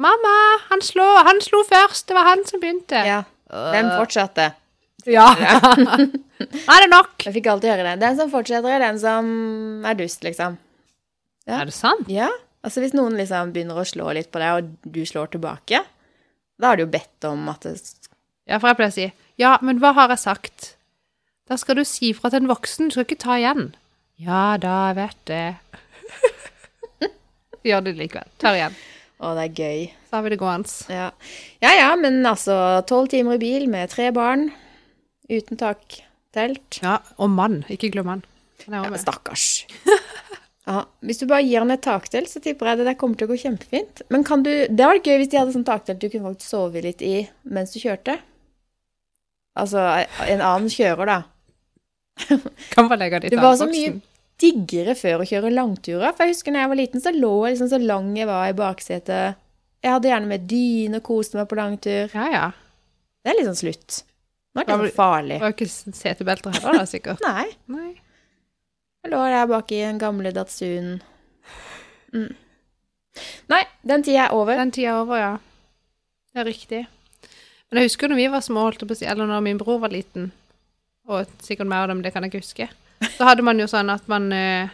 A: Mamma, han slår! Han slo først! Det var han som begynte.
C: ja. Den fortsatte.
A: Ja. Nå er det nok!
C: Jeg fikk alltid høre det. Den som fortsetter, er den som er dust, liksom. Ja.
A: Er det sant?
C: Ja, altså Hvis noen liksom begynner å slå litt på deg, og du slår tilbake, da har du jo bedt om at det
A: Ja, for jeg pleier å si Ja, men hva har jeg sagt? Da skal du si fra til en voksen, du skal ikke ta igjen. Ja da, jeg vet det. Gjør det likevel. Tar igjen.
C: Og det er gøy.
A: Så har vi det gående.
C: Ja. ja ja, men altså tolv timer i bil med tre barn, uten tak, telt.
A: Ja, og mann. Ikke glem mann. Han er
C: Ja,
A: også
C: men
A: med.
C: stakkars. Ja, hvis du bare gir han et taktelt, så tipper jeg det der kommer til å gå kjempefint. Men kan du, det hadde vært gøy hvis de hadde sånn taktelt du kunne faktisk sove litt i mens du kjørte. Altså, en annen kjører, da.
A: Kan bare legge dit
C: Det var så mye diggere før å kjøre langturer. For jeg husker når jeg var liten, så lå jeg liksom så lang jeg var i baksetet. Jeg hadde gjerne med dyne og koste meg på langtur.
A: Ja, ja.
C: Det er litt sånn slutt. Nå er det
A: Ja, men-
C: litt sånn farlig.
A: Det var jo ikke setebelter heller, da, sikkert.
C: Nei.
A: Nei.
C: Jeg lå der bak i den gamle Datsunen. Mm. Nei, den tida er over.
A: Den tida er over, ja. Det er riktig. Men jeg husker jo når vi var små, holdt jeg på å si, eller når min bror var liten, og sikkert meg og dem, det kan jeg ikke huske, så hadde man jo sånn at man eh,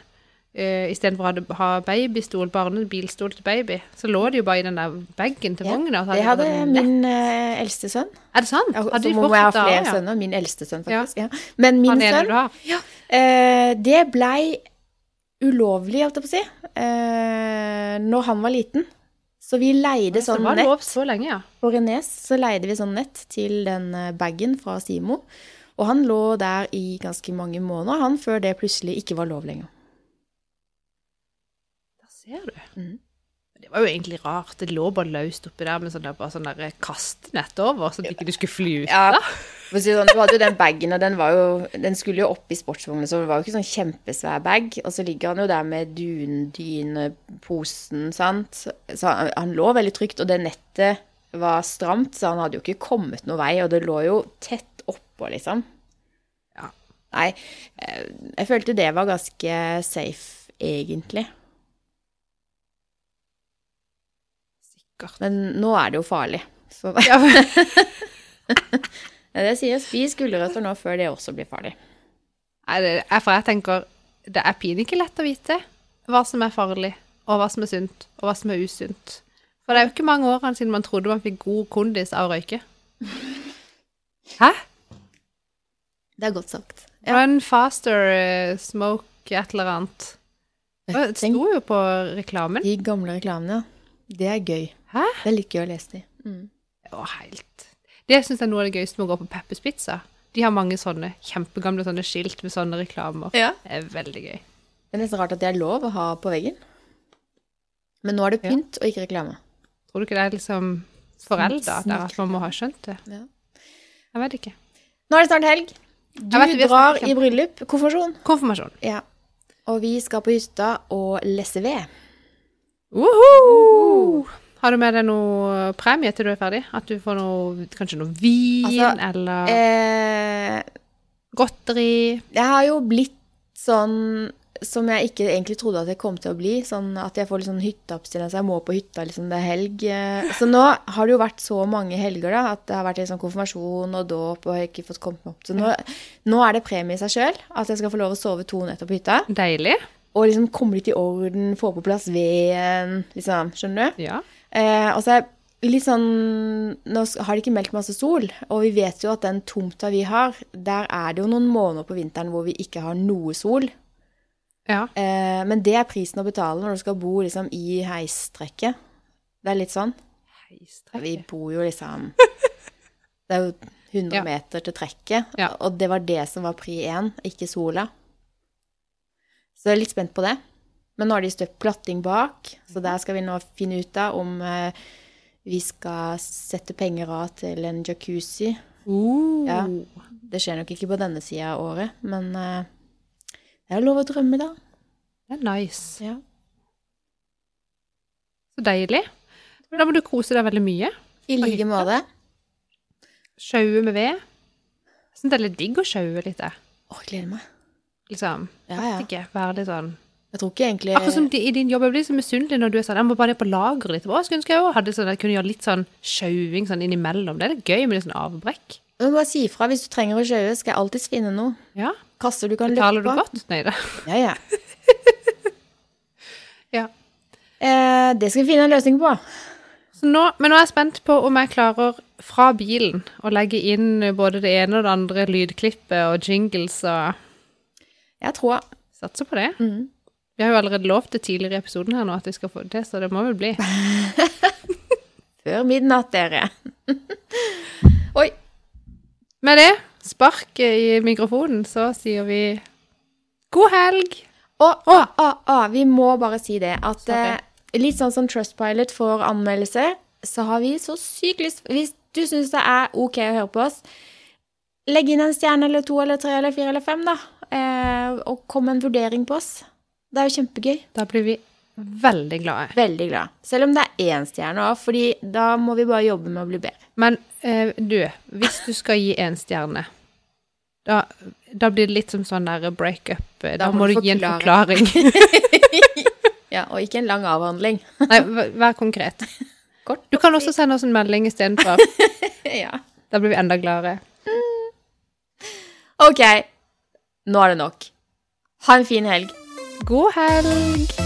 A: eh, istedenfor å ha- ha babystol, barnebilstol til baby, så lå det jo bare i den der bagen til
C: Ja,
A: vogna. og så
C: Det hadde
A: bare sånn-
C: min eh, eldste sønn.
A: Er det sant?
C: Ja,
A: Hadde
C: Så
A: de
C: må
A: fort
C: jeg ha
A: da,
C: flere
A: ja.
C: sønner. Min eldste sønn,
A: Ja.
C: faktisk. Ja. Men min
A: Han ene
C: sønn
A: du har.
C: Eh, det blei ulovlig, holdt jeg på å si, eh, når han var liten. Så vi leide
A: Så
C: sånn
A: var
C: nett
A: lov så lenge, ja.
C: på Renes. Så leide vi sånn nett til den eh, bagen fra Simo. Og han lå der i ganske mange måneder, han, før det plutselig ikke var lov lenger.
A: Der ser du.
C: Mhm.
A: Mm. Det var jo egentlig rart. Det lå bare løst oppi der med sånn der, bare sånn der kastenett over, så det ikke du skulle fly ut.
C: Ja, for å si det sånn, Du hadde jo den bagen, og den, var jo, den skulle jo opp i sportsvognen, så det var jo ikke sånn kjempesvær bag. Og så ligger han jo der med dundyneposen, sant. Så han, han lå veldig trygt, og det nettet var stramt, så han hadde jo ikke kommet noen vei, og det lå jo tett oppå, liksom.
A: Ja.
C: Nei, eh, jeg følte det var ganske safe, egentlig.
A: Sikkert.
C: Men nå er det jo farlig. Så
A: Ja, men-
C: det jeg sier, spis gulrøtter nå før det også blir farlig.
A: Nei, det er for jeg tenker Det er pinlig ikke lett å vite hva som er farlig, og hva som er sunt, og hva som er usunt. For det er jo ikke mange årene siden man trodde man fikk god kondis av å røyke. Hæ?
C: Det er godt sagt.
A: Run faster, eh, smoke et eller annet. Det
C: Tenk
A: sto jo på reklamen.
C: De gamle reklamene, ja. Det er gøy.
A: Hæ?
C: Det er litt gøy å lese de.
A: Å, helt. Det syns jeg er noe av det gøyeste med å gå på Peppers Pizza. De har mange sånne kjempegamle sånne skilt med sånne reklamer.
C: Ja.
A: Det er veldig gøy.
C: Det er nesten rart at det er lov å ha på veggen. Men nå er det
A: Ja.
C: pynt og ikke reklame.
A: Tror du ikke det er liksom forelda der at man må ha skjønt det?
C: Ja.
A: Jeg vet ikke.
C: Nå er det snart helg. Du
A: Jeg vet, vi har
C: drar
A: snakket
C: i bryllup. Konfirmasjon.
A: Konfirmasjon.
C: Ja. Og vi skal på hytta og lesse ved.
A: Uhu! Har du med deg noe premie til du er ferdig? At du får noe, kanskje noe vin,
C: Altså,
A: eller
C: Eh,
A: godteri?
C: jeg har jo blitt sånn som jeg ikke egentlig trodde at jeg kom til å bli. Sånn at jeg får litt sånn hytteabstinens. Jeg må på hytta liksom det er helg. eh. Så nå har det jo vært så mange helger da, at det har vært litt sånn konfirmasjon og dåp. og jeg har ikke fått kommet meg opp. Så nå, nå er det premie i seg sjøl at jeg skal få lov å sove to netter på hytta.
A: Deilig.
C: Og liksom komme litt i orden, få på plass veden. liksom, Skjønner du?
A: Ja.
C: Eh, og så er jeg litt sånn Nå s- har det ikke meldt masse sol, og vi vet jo at den tomta vi har, der er det jo noen måneder på vinteren hvor vi ikke har noe sol.
A: ja.
C: Eh, men det er prisen å betale når du skal bo liksom i heistrekket. Det er litt sånn. Vi
A: Heistrekket.
C: bor jo liksom Det er jo 100
A: Ja.
C: meter til trekket,
A: Ja.
C: og det var det som var pri én, ikke sola. Så jeg er litt spent på det. Men nå har de støpt platting bak,
A: Mhm.
C: så der skal vi nå finne ut av om eh, vi skal sette penger av til en jacuzzi.
A: Uh.
C: Ja. Det skjer nok ikke på denne sida av året, men eh, det er lov å drømme, da.
A: Det er nice.
C: Ja.
A: Så deilig. Da må du kose deg veldig mye.
C: I like måte.
A: Sjaue med ved. Jeg syns det er litt digg å sjaue litt, jeg.
C: Å, jeg gleder meg.
A: Liksom.
C: Ja,
A: Vet
C: ja.
A: Ikke, være litt sånn
C: Jeg tror ikke egentlig
A: Akkurat som de, i din jobb. Jeg blir så misunnelig når du er sånn Jeg må bare ned på lageret litt. Å, skulle ønske jeg også hadde sånn, jeg kunne gjøre litt sånn sjauing sånn innimellom. Det er litt gøy med litt sånn avbrekk.
C: Du må bare si ifra hvis du trenger å sjaue, skal jeg alltids finne noe.
A: Ja.
C: Kasser du kan
A: Taler
C: løpe
A: du
C: på.
A: godt? Nei da.
C: Ja, ja.
A: Ja.
C: Eh, det skal vi finne en løsning på.
A: Så nå, men nå er jeg spent på om jeg klarer fra bilen å legge inn både det ene og det andre lydklippet og jingles og
C: Jeg tror Mm.
A: Satser på det. Vi har jo allerede lovt det tidligere i episoden her nå at vi skal få det, så det må vel bli.
C: Før midnatt, dere. Oi.
A: Med det sparket i mikrofonen, så sier vi god helg!
C: Å, å, å, å, vi må bare si det at
A: Sorry.
C: eh, litt sånn som Trustpilot får anmeldelser, så har vi så sykt lyst Hvis du syns det er OK å høre på oss, legg inn en stjerne eller to eller tre eller fire eller fem, da. Eh, og kom med en vurdering på oss. Det er jo kjempegøy.
A: Da blir vi veldig glade.
C: Veldig glad. Selv om det er én stjerne òg, fordi da må vi bare jobbe med å bli bedre.
A: Men eh, du, hvis du skal gi én stjerne, da, da blir det litt som sånn der breakup. Da, da må du gi en
C: forklare.
A: forklaring.
C: Ja, Og ikke en lang avhandling.
A: Nei, v- vær konkret.
C: Kort
A: Du kan også sende oss en melding istedenfor.
C: ja.
A: Da blir vi enda gladere.
C: Ok, nå er det nok. Ha en fin helg.
A: God helg!